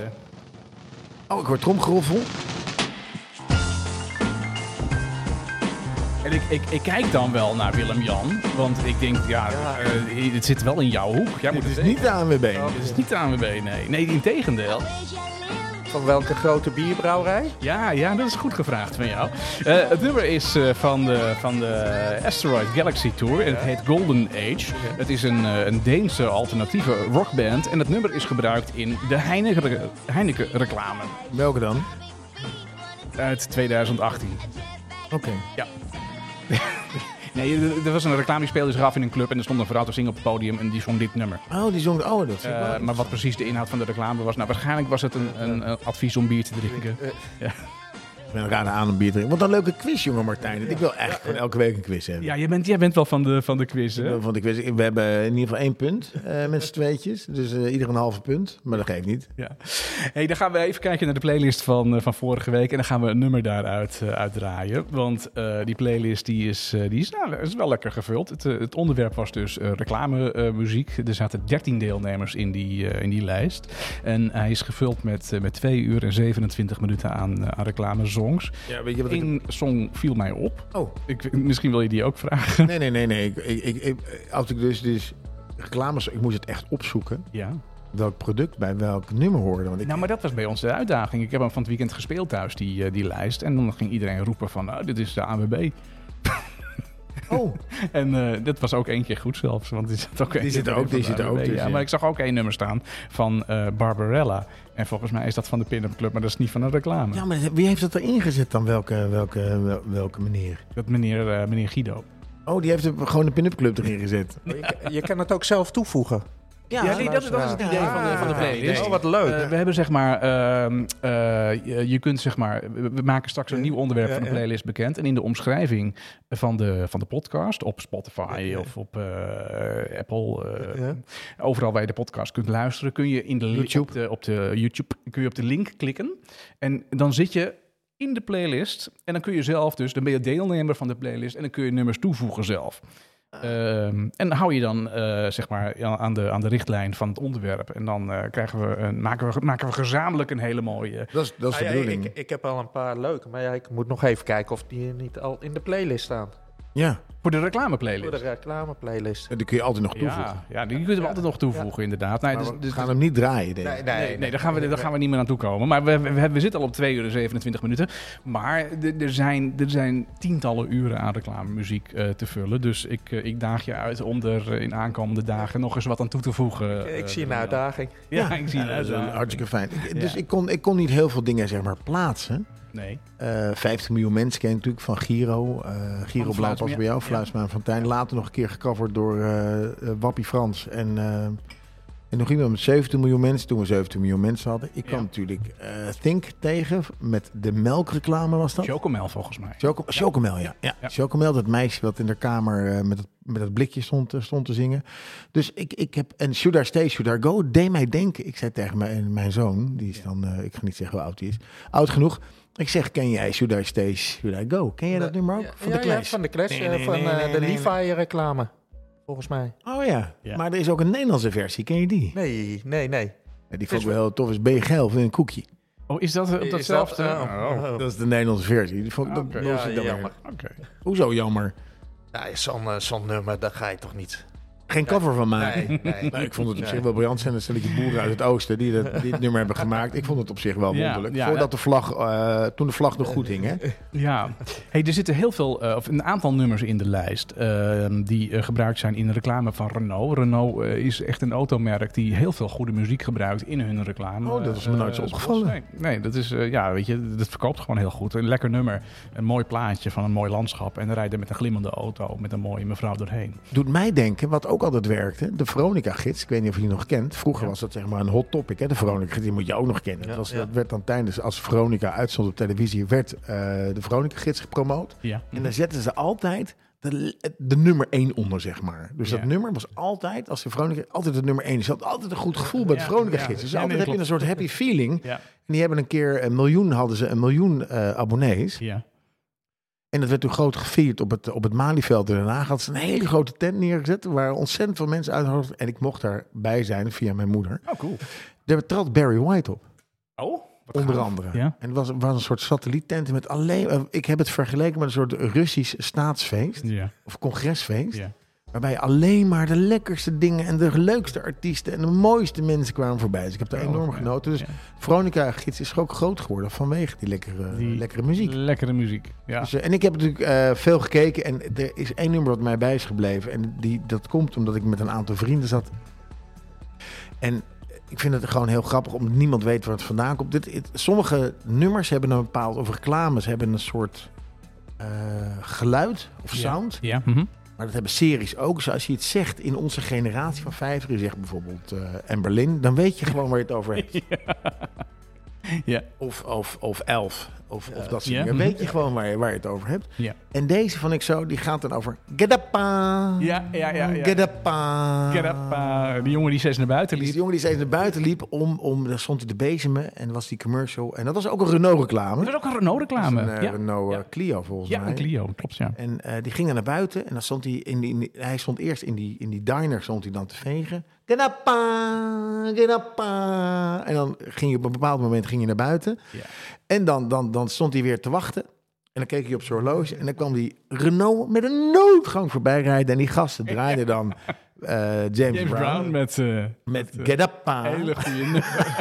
A: Oh, ik hoor tromgeroffel.
B: En ik, ik, ik kijk dan wel naar Willem-Jan, want ik denk, ja, eh, het zit wel in jouw hoek. Jij moet
A: Het is
B: het
A: niet de ANWB.
B: Het is niet de ANWB, nee. Nee, integendeel.
C: Van welke grote bierbrouwerij?
B: Ja, ja, dat is goed gevraagd van jou. Eh, het nummer is eh, van, de, van de Asteroid Galaxy Tour en het heet Golden Age. Het is een, eh, een Deense alternatieve rockband en het nummer is gebruikt in de Heineken- Heineken-reclame
A: Welke dan?
B: uit 2018.
A: Oké.
B: Nee, er- er was een reclame die speelde zich af in een club en er stond een vrouw te zingen op het podium en die zong dit nummer.
A: Oh, die zong... Oh, dat vind ik wel-
B: Eh, maar wat precies de inhoud van de reclame was, nou waarschijnlijk was het een, een, een advies om bier te drinken.
A: Eh, Ik ben raar aan een bier drinken. Wat een leuke quiz, jongen Martijn. Ik wil echt gewoon elke week een quiz hebben.
B: Ja, jij bent, jij bent wel van de, van de quiz, hè?
A: Want ik wist, we hebben in ieder geval één punt eh, met z'n tweetjes. Dus eh, ieder een halve punt. Maar dat geeft niet.
B: Ja. Hey, dan gaan we even kijken naar de playlist van, eh, van vorige week. En dan gaan we een nummer daaruit eh, uitdraaien. Want eh, die playlist die is, eh, die is, nou, is wel lekker gevuld. Het, eh, het onderwerp was dus reclamemuziek. er zaten 13 deelnemers in die, eh, in die lijst. En hij is gevuld met, eh, met 2 uur en 27 minuten aan, eh, aan reclamesongs.
A: Ja, weet je wat
B: Eén song viel mij op.
A: Oh,
B: Ik, misschien wil je die ook vragen.
A: nee, nee, nee. nee. Ik, ik, ik- ik- als ik dus, dus reclames... Ik moest het echt opzoeken.
B: Ja.
A: Welk product bij welk nummer hoorde. Want ik,
B: Nou, maar dat was bij ons de uitdaging. Ik heb hem van het weekend gespeeld thuis, die, eh, die lijst. En dan ging iedereen roepen van, nou, dit is de AWB.
A: oh,
B: En eh dit was ook één keer goed zelfs, want die zit ook één
A: Die
B: keer
A: zit er
B: bij
A: ook, die
B: van
A: zit
B: de
A: er
B: AWB,
A: ook, dus,
B: ja.
A: ja.
B: Maar ik zag ook één nummer staan van eh, Barbarella. En volgens mij is dat van de Pin-Up Club, maar dat is niet van een reclame.
A: ja, maar wie heeft dat erin gezet dan? Welke, welke, wel- welke meneer?
B: Dat meneer, eh, meneer Guido.
A: Oh, die heeft er gewoon de pin-up club erin gezet.
C: Je, je kan het ook zelf toevoegen.
B: Ja, nee, dat, is- dat is het idee van de, van de
C: Ah,
B: playlist.
C: Oh, wat leuk.
B: Eh, we hebben zeg maar, ehm, eh, je, je kunt zeg maar, we we maken straks een nieuw onderwerp van de playlist bekend. En in de omschrijving van de, van de podcast op Spotify of op eh, Apple, eh, overal waar je de podcast kunt luisteren, kun je in de link
A: YouTube.
B: op de, op de YouTube kun je op de link klikken. En dan zit je in de playlist en dan kun je zelf dus, dan ben je deelnemer van de playlist en dan kun je nummers toevoegen zelf. Ehm, en hou je dan eh, zeg maar ja, aan de, aan de richtlijn van het onderwerp. En dan eh, krijgen we een, maken, we, maken we gezamenlijk een hele mooie.
A: Dat is, dat is de
C: Ah, ja,
A: bedoeling.
C: ik, ik heb al een paar leuke, maar ja, ik moet nog even kijken of die niet al in de playlist staan.
A: Ja,
B: Voor de
C: Voor
B: reclameplaylist.
C: de reclame playlist.
A: en die kun je altijd nog toevoegen.
B: ja, ja, die kunnen we altijd nog toevoegen, inderdaad. Nou, dus,
A: Maar we
B: dus-
A: gaan hem niet draaien, denk ik.
B: Nee, nee, daar gaan, we, daar gaan we niet meer aan toe komen. Maar we, we, we zitten al op 2 uur en 27 minuten. Maar d- er zijn, er zijn tientallen uren aan reclamemuziek eh te vullen. Dus ik, eh, ik daag je uit om er eh, in aankomende dagen nog eens wat aan toe te voegen.
C: Ik, ik
B: eh,
C: zie een
B: Daniel.
C: uitdaging.
B: Ja, ik zie een
A: dat is
B: uitdaging.
A: hartstikke fijn. Ik- Dus
B: Ja.
A: ik, kon, ik kon niet heel veel dingen zeg maar, plaatsen.
B: Nee.
A: Eh 50 miljoen mensen ken je natuurlijk van Giro. eh Giro Blauw pas
B: Van Fluisma-
A: bij jou,
B: ja.
A: Fluisma van Tijn. Later nog een keer gecoverd door eh, eh, Wappie Frans. En, eh, en nog iemand met 17 miljoen mensen, toen we 17 miljoen mensen hadden. Ik kwam
B: Ja.
A: natuurlijk eh, Think tegen met de melkreclame was dat.
B: Chocomel volgens mij.
A: Choco- Chocomel, ja. ja.
B: Ja.
A: Chocomel, dat meisje wat in de kamer eh, met, het, met het blikje stond, eh, stond te zingen. Dus ik, ik heb... En Should I Stay, Should I Go, deed mij denken. Ik zei tegen mijn, eh, mijn zoon, die is dan... eh, ik ga niet zeggen hoe oud hij is. Oud genoeg. Ik zeg, ken jij Should I Stay, Should I Go? Ken jij dat nummer ook? Van de
C: Ja, ja,
A: Clash?
C: van de Clash,
A: Nee,
C: eh,
A: nee,
C: van
A: nee,
C: eh,
A: nee,
C: de
A: nee, nee.
C: Levi-reclame. Volgens mij.
A: Oh ja.
B: Ja.
A: Maar er is ook een Nederlandse versie. Ken je die?
C: Nee, nee, nee.
A: Ja, die vond ik wel heel tof. Is Ben je geil of in een koekje?
B: Oh, is dat eh, op
C: Is
B: datzelfde?
C: dat-
B: Oh,
C: oh.
A: Dat is de Nederlandse versie. Die vond ik, dat,
B: Oké.
A: dat was ik dan weer.
C: jammer.
B: Oh, Oké.
A: Hoezo jammer?
C: Ja, zo'n eh, zo'n nummer, daar ga je toch niet.
A: Geen cover van maken.
C: Nee, nee.
A: Nou, ik vond het op
C: Nee.
A: zich wel briljant. zijn een stelletje boeren uit het oosten die dat, dit nummer hebben gemaakt. Ik vond het op zich wel
B: Ja,
A: wonderlijk.
B: ja,
A: Voordat
B: dat-
A: de vlag, eh, toen de vlag nog goed hing, hè?
B: Ja, hey, er zitten heel veel, eh, of een aantal nummers in de lijst eh, die eh, gebruikt zijn in de reclame van Renault. Renault eh, is echt een automerk die heel veel goede muziek gebruikt in hun reclame.
A: Oh, dat is me nooit zo
B: Eh,
A: opgevallen.
B: Nee, nee, dat is, eh, ja, weet je, dat verkoopt gewoon heel goed. Een lekker nummer, een mooi plaatje van een mooi landschap en dan rijden met een glimmende auto met een mooie mevrouw doorheen.
A: Doet mij denken, wat ook altijd werkte, de Veronica-gids. Ik weet niet of je die nog kent. Vroeger was dat zeg maar een hot topic, hè? De Veronica-gids, die moet je ook nog kennen. dat, was,
C: ja.
A: dat werd dan tijdens, als Veronica uitzond op televisie, werd eh, de Veronica-gids gepromoot.
B: Ja.
A: En daar zetten ze altijd de, de nummer één onder, zeg maar. Dus
B: Ja.
A: dat nummer was altijd, als de Veronica, altijd het nummer één. Ze had altijd een goed gevoel bij de
B: Ja,
A: Veronica-gids.
B: ja.
A: Dus
B: Ja, nee,
A: altijd heb je een
B: klopt.
A: soort happy feeling.
B: Ja.
A: En die hebben een keer een miljoen, hadden ze een miljoen eh, abonnees.
B: Ja.
A: En dat werd toen groot gevierd op het, op het Malieveld in Den Haag. Hadden ze een hele grote tent neergezet. Er waren ontzettend veel mensen uitgenodigd. En ik mocht daarbij zijn via mijn moeder.
B: Oh, cool.
A: Daar trad Barry White op,
B: Oh, wat
A: onder
B: gaaf.
A: andere.
B: Ja.
A: En het was, was een soort satelliettent met alleen... eh, Ik heb het vergeleken met een soort Russisch staatsfeest
B: Ja,
A: of congresfeest.
B: ja.
A: Waarbij je alleen maar de lekkerste dingen en de leukste artiesten en de mooiste mensen kwamen voorbij. Dus ik heb daar
B: Oh,
A: enorm
B: ja.
A: genoten. Dus
B: Ja.
A: Veronica Gids is ook groot geworden vanwege die lekkere,
B: Die-
A: lekkere muziek.
B: Lekkere muziek. Ja.
A: Dus, eh, en ik heb natuurlijk eh, veel gekeken en er is één nummer wat mij bij is gebleven. En die, dat komt omdat ik met een aantal vrienden zat. En ik vind het gewoon heel grappig, omdat niemand weet waar het vandaan komt. Dit, het- sommige nummers hebben een bepaald, of reclames hebben een soort eh, geluid of sound.
B: Ja. mhm.
A: Maar dat hebben series ook. Dus als je het zegt in onze generatie van vijf, je zegt bijvoorbeeld eh Amber Lynn, dan weet je gewoon waar je het over hebt.
B: Ja.
A: Of, of, of elf, of, of dat soort
B: Ja.
A: dingen. Dan weet je gewoon waar je, waar je het over hebt.
B: Ja.
A: En deze vond ik zo, die gaat dan over get up, ah.
B: Ja, ja, ja, ja.
A: get up, ah.
B: Get up, eh, die jongen die steeds naar
A: Die
B: buiten
A: is
B: liep.
A: die jongen die steeds naar buiten liep, om, om, daar stond hij de bezemen en was die commercial. En dat was ook een Renault-reclame.
B: Er is ook een Renault-reclame.
A: Een eh,
B: ja.
A: Renault eh,
B: Ja.
A: Clio volgens
B: ja,
A: mij.
B: een Clio, klopt, ja.
A: En eh, die ging dan naar buiten en dan stond hij in die, in die- hij stond eerst in die, in die diner stond hij dan te vegen. Kenappa, kenappa. En dan ging je op een bepaald moment ging je naar buiten.
B: Ja.
A: En dan, dan, dan stond hij weer te wachten. En dan keek hij op zijn horloge en dan kwam die Renault met een noodgang voorbij rijden. En die gasten draaiden dan eh, James,
B: James
A: Brown,
B: Brown met... eh,
A: met
B: eh,
A: Kenappa.
B: Hele goede nummer.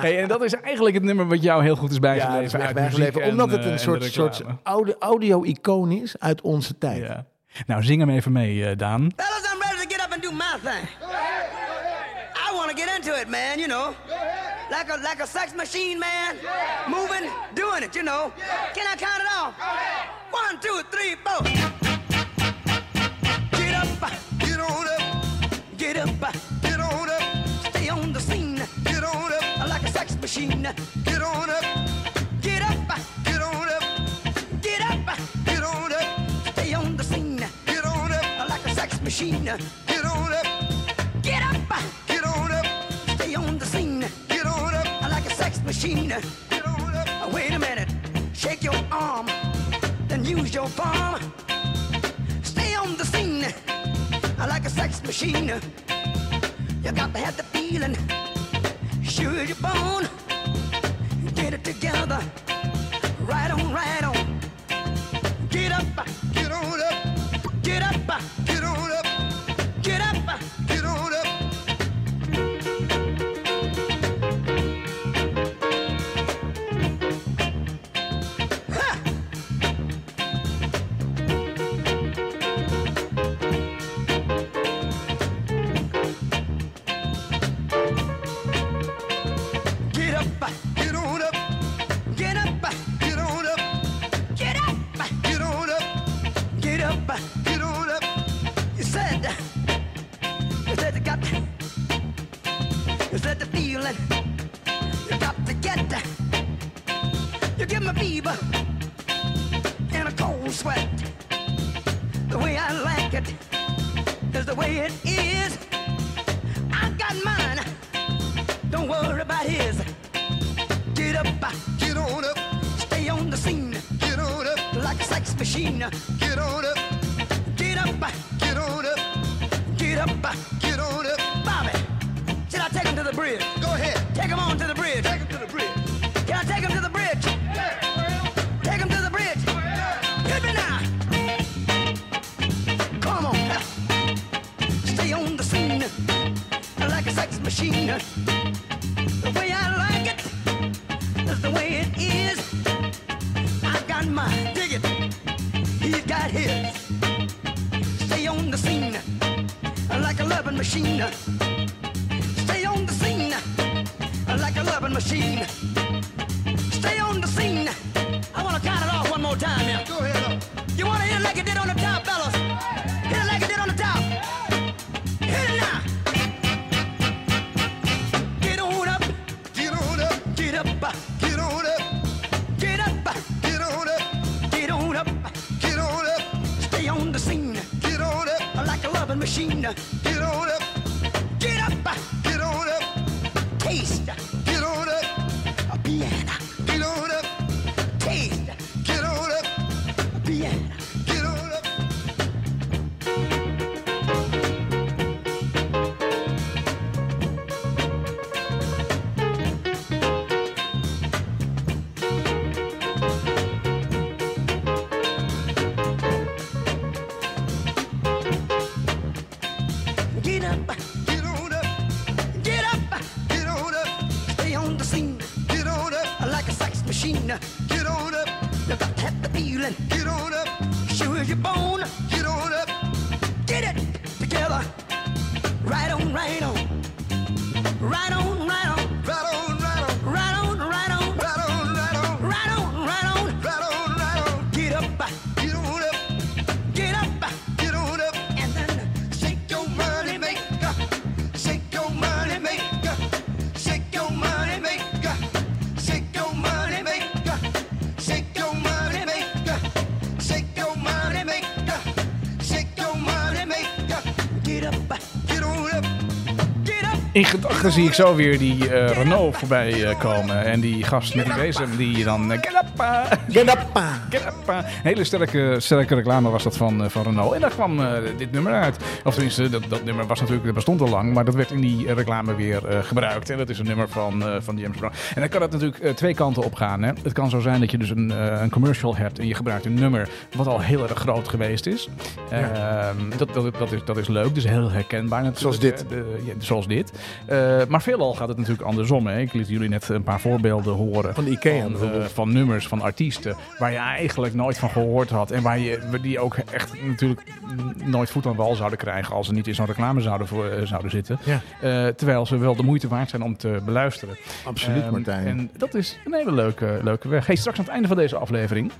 B: hey, en dat is eigenlijk het nummer wat jou heel goed is
A: Ja,
B: bijgebleven.
A: dat is mij
B: uit
A: bijgebleven,
B: muziek en,
A: Omdat het
B: eh,
A: een
B: en de
A: soort,
B: reclame.
A: soort oude, audio-icoon is uit onze tijd.
B: Ja. Nou, zing hem even mee, eh, Daan.
E: Fellas, I'm ready to get up and do my thing. I want to get into it, man, you know. Like a like a sex machine, man. Moving, doing it, you know. Can I count it off? One, two, three, four. up, get on up, stay on the scene, get on up, like a sex machine, get on up, get up, get on up, get up, get on up, stay on the scene, get on up, like a sex machine, get on up, get up, get on up, stay on the scene, get on up, like a sex machine, get on up, wait a minute, shake your arm, then use your palm, stay on the scene, like a sex machine. You got to have the feeling. Sure you're born. Get it together. Right on, right on. Get up, get on up. Get up, get on up. Get up, get on up. Get up, get on up, get up, get on up, get up, get on up, get up, get on up. You said, you said you got, you said the feeling, you got to get. You give me fever and a cold sweat. The way I like it is the way it is. I got mine. Don't worry about his. Get up, get on up, stay on the scene. Get on up, like a sex machine. Get on up, get up, get on up, get up, get on up. Bobby, should I take him to the bridge? Go ahead, take him on to the bridge. Take him to the bridge. Can I take him to the bridge? Take him to the bridge. Hit me now. Come on, stay on the scene like a sex machine. The way I like it is the way it is. I've got mine, dig it. He's got his. Stay on the scene like a loving machine. Stay on the scene like a loving machine. Stay on the scene. I want to count it off one more time here. Go ahead. You want to hit it like it did on the top, fellas? Hit it like it did on the top. Hit it now. Get on up, get on up, get up, get on up, get up, get on up, get on up, get on up, stay on the scene, get on up, like a loving machine, get on up, get up, get on up, taste, get on up, a piano, get on up, taste, get on up, a piano, get on up. Get up, get on up, get up, get on up, stay on the scene, get on up, like a sex machine, get on up, you got to have the feeling, get on up, sure as you're born, get on up, get it together, right on, right on, right on, right on,
C: Right on, right on,
E: right on, right on,
C: right on, right on,
E: right on, right on,
C: right on, right on.
E: get up,
C: Get on up,
E: get up,
C: get on up.
E: and then shake your
C: Your money maker, shake your money maker, shake your money maker, shake your money maker, shake your money maker, shake your money maker, shake your money maker.
E: Get up,
C: Get on up.
E: get up.
B: In gedachten zie ik zo weer die eh, Renault voorbij eh, komen. En die gast met die bezem die dan... eh, get up, eh,
A: Get up! ah.
B: get up, eh. Hele sterke, sterke reclame was dat van, eh, van Renault. En daar kwam eh, dit nummer uit. Of tenminste, dat, dat nummer was natuurlijk, dat bestond al lang. Maar dat werd in die eh, reclame weer eh, gebruikt. En dat is een nummer van, eh, van James Brown. En dan kan het natuurlijk eh, twee kanten op gaan. Hè. Het kan zo zijn dat je dus een, eh, een commercial hebt. En je gebruikt een nummer wat al heel erg groot geweest is. Ehm, dat, dat, dat, is dat is leuk. Dus heel herkenbaar natuurlijk.
A: Zoals dit.
B: eh, de- ja, zoals dit. Eh, maar veelal gaat het natuurlijk andersom. Hè? Ik liet jullie net een paar voorbeelden horen.
A: Van Ikea
B: Van, eh,
A: bijvoorbeeld.
B: van nummers, van artiesten. Waar je eigenlijk nooit van gehoord had. En waar je, die ook echt natuurlijk nooit voet aan wal zouden krijgen. als ze niet in zo'n reclame zouden, voor, eh, zouden zitten.
A: Ja.
B: Eh, terwijl ze wel de moeite waard zijn om te beluisteren.
A: Absoluut,
B: Ehm,
A: Martijn.
B: En dat is een hele leuke, leuke weg. Hey, straks aan het einde van deze aflevering.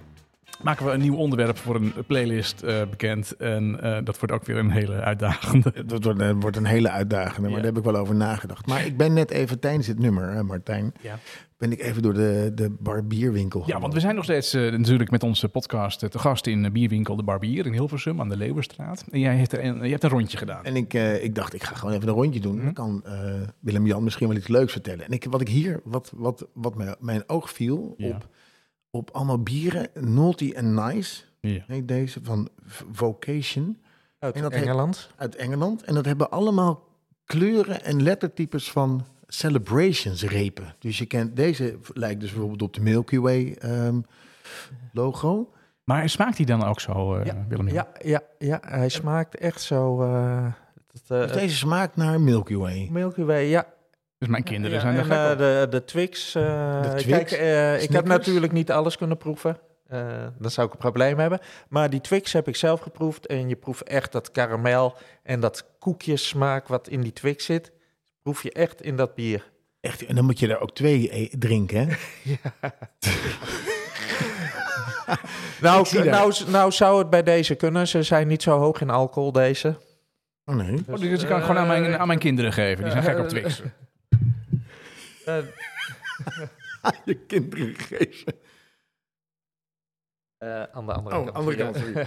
B: maken we een nieuw onderwerp voor een playlist eh, bekend. En eh, dat wordt ook weer een hele uitdagende.
A: Dat wordt, dat wordt een hele uitdagende, maar
B: Ja.
A: daar heb ik wel over nagedacht. Maar ik ben net even tijdens dit nummer, hè, Martijn,
B: Ja.
A: ben ik even door de, de barbierwinkel
B: Ja, want we zijn nog steeds eh, natuurlijk met onze podcast eh, te gast in eh, Bierwinkel De Barbier in Hilversum aan de Leeuwenstraat. En jij hebt, er een, je hebt een rondje gedaan.
A: En ik, eh, ik dacht, ik ga gewoon even een rondje
B: Mhm.
A: doen. Dan kan eh, Willem-Jan misschien wel iets leuks vertellen. En ik, wat ik hier, wat, wat, wat mij, mijn oog viel
B: Ja.
A: op, op allemaal bieren, Naughty and Nice,
B: Ja.
A: heet deze van V- Vocation
C: Uit
A: En dat heet-
C: Engeland.
A: uit Engeland. En dat hebben allemaal kleuren en lettertypes van Celebrations repen. Dus je kent, deze lijkt dus bijvoorbeeld op de Milky Way ehm, logo.
B: Maar smaakt die dan ook zo, eh, Willem?
C: Ja, ja, ja, hij smaakt echt zo. eh, dat, eh,
A: Dus deze smaakt naar Milky Way.
C: Milky Way, ja.
B: Dus mijn kinderen
C: Ja,
B: zijn er
C: en,
B: gek
C: eh,
B: op.
C: de, de Twix. eh,
A: De Twix,
C: Kijk, eh, ik heb
A: Snickers.
C: natuurlijk niet alles kunnen proeven. Eh, dan zou ik een probleem hebben. Maar die Twix heb ik zelf geproefd. En je proeft echt dat karamel en dat koekjesmaak wat in die Twix zit. Proef je echt in dat bier.
A: Echt, en dan moet je er ook twee eh, drinken, hè? Ik zie dat.
C: Nou, nou, nou zou het bij deze kunnen. Ze zijn niet zo hoog in alcohol, deze.
A: Oh nee.
B: Oh, dus ik kan ik gewoon aan mijn, aan mijn kinderen geven. Die zijn gek op Twix.
C: Eh,
A: Je kinderen gegeven.
C: eh, aan de andere
A: Oh,
C: kant.
A: andere
C: Ja.
A: kant, sorry.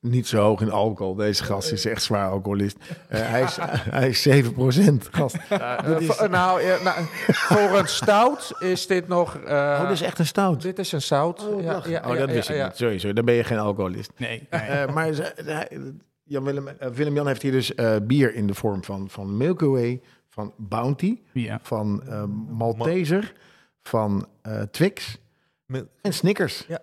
A: Niet zo hoog in alcohol. Deze gast is echt zwaar alcoholist. Eh, hij, is, hij is 7% gast.
C: Eh,
A: Dat is-
C: voor- nou, ja, nou, voor een stout is dit nog. eh,
A: oh, dit is echt een stout.
C: Dit is een stout.
A: Oh,
C: ja, ja,
A: dat
C: ja,
A: wist
C: ja,
A: ik
C: ja.
A: niet. Sorry, sorry. Dan ben je geen alcoholist.
B: Nee.
A: Eh, maar ze- hij- Jan Willem, eh, Willem-Jan heeft hier dus eh, bier in de vorm van, van Milky Way, van Bounty,
B: Ja.
A: van eh, Malteser, van eh, Twix
C: Mil-
A: en Snickers.
B: ja,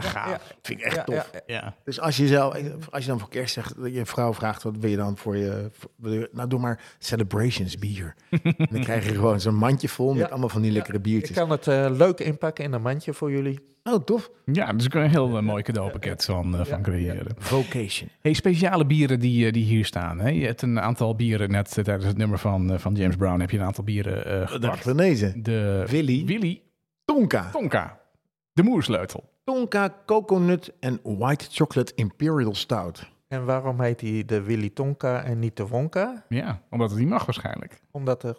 B: gaaf.
A: Dat vind ik echt
C: Ja,
A: tof.
C: ja,
B: Ja.
A: Dus als je, zelf, als je dan voor kerst zegt, je vrouw vraagt, wat wil je dan voor je... voor- wil je- nou, doe maar celebrations bier. en dan krijg je gewoon zo'n mandje vol met
C: Ja.
A: allemaal van die lekkere
C: Ik
A: biertjes.
C: kan het eh, leuk inpakken in een mandje voor jullie.
A: Oh, tof.
B: ja, dus ik kan een heel eh, mooi cadeaupakket van, eh, van creëren.
A: Vocation.
B: Hey, speciale bieren die, eh, die hier staan. Hè? Je hebt een aantal bieren, net eh, tijdens het nummer van, eh, van James Brown heb je een aantal bieren eh
A: De
B: gepakt.
A: Ghanese.
B: De
A: Willy.
B: Willy
A: Tonka.
B: Tonka. De moersleutel.
A: Tonka, coconut en white chocolate imperial stout.
C: En waarom heet die de Willy Tonka en niet de Wonka?
B: Ja, omdat het niet mag waarschijnlijk.
C: Omdat er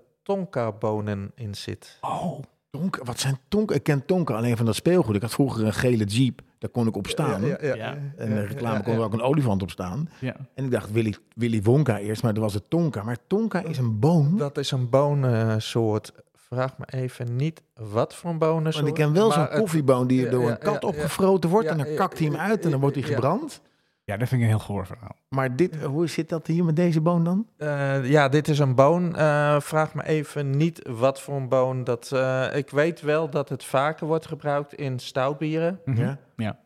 C: Tonka-bonen in zit.
B: Oh.
A: Tonka, wat zijn Tonka? Ik ken Tonka alleen van dat speelgoed. Ik had vroeger een gele jeep, daar kon ik op staan.
B: Ja.
A: En de reclame
C: ja,
A: kon er ook een olifant op staan.
B: Ja.
A: En ik dacht Willy, Willy Wonka eerst, maar dat was het Tonka. Maar Tonka is een boom.
C: Dat is een bonensoort. Vraag me even niet wat voor een bonensoort.
A: Want ik ken wel
C: maar
A: zo'n
C: het-
A: koffieboon die
C: ja,
A: door
C: ja,
A: een kat
C: ja,
A: opgefroten wordt.
C: ja,
A: en dan
C: ja,
A: kakt hij hem
C: ja,
A: uit en dan wordt hij
C: ja.
A: gebrand.
B: ja, dat vind ik een heel goor verhaal.
A: Maar dit, hoe zit dat hier met deze boon dan?
C: Eh, ja, dit is een boon. Eh, vraag me even niet wat voor een boon. Dat, eh, ik weet wel dat het vaker wordt gebruikt in stoutbieren.
B: Mhm.
A: Ja.
B: ja.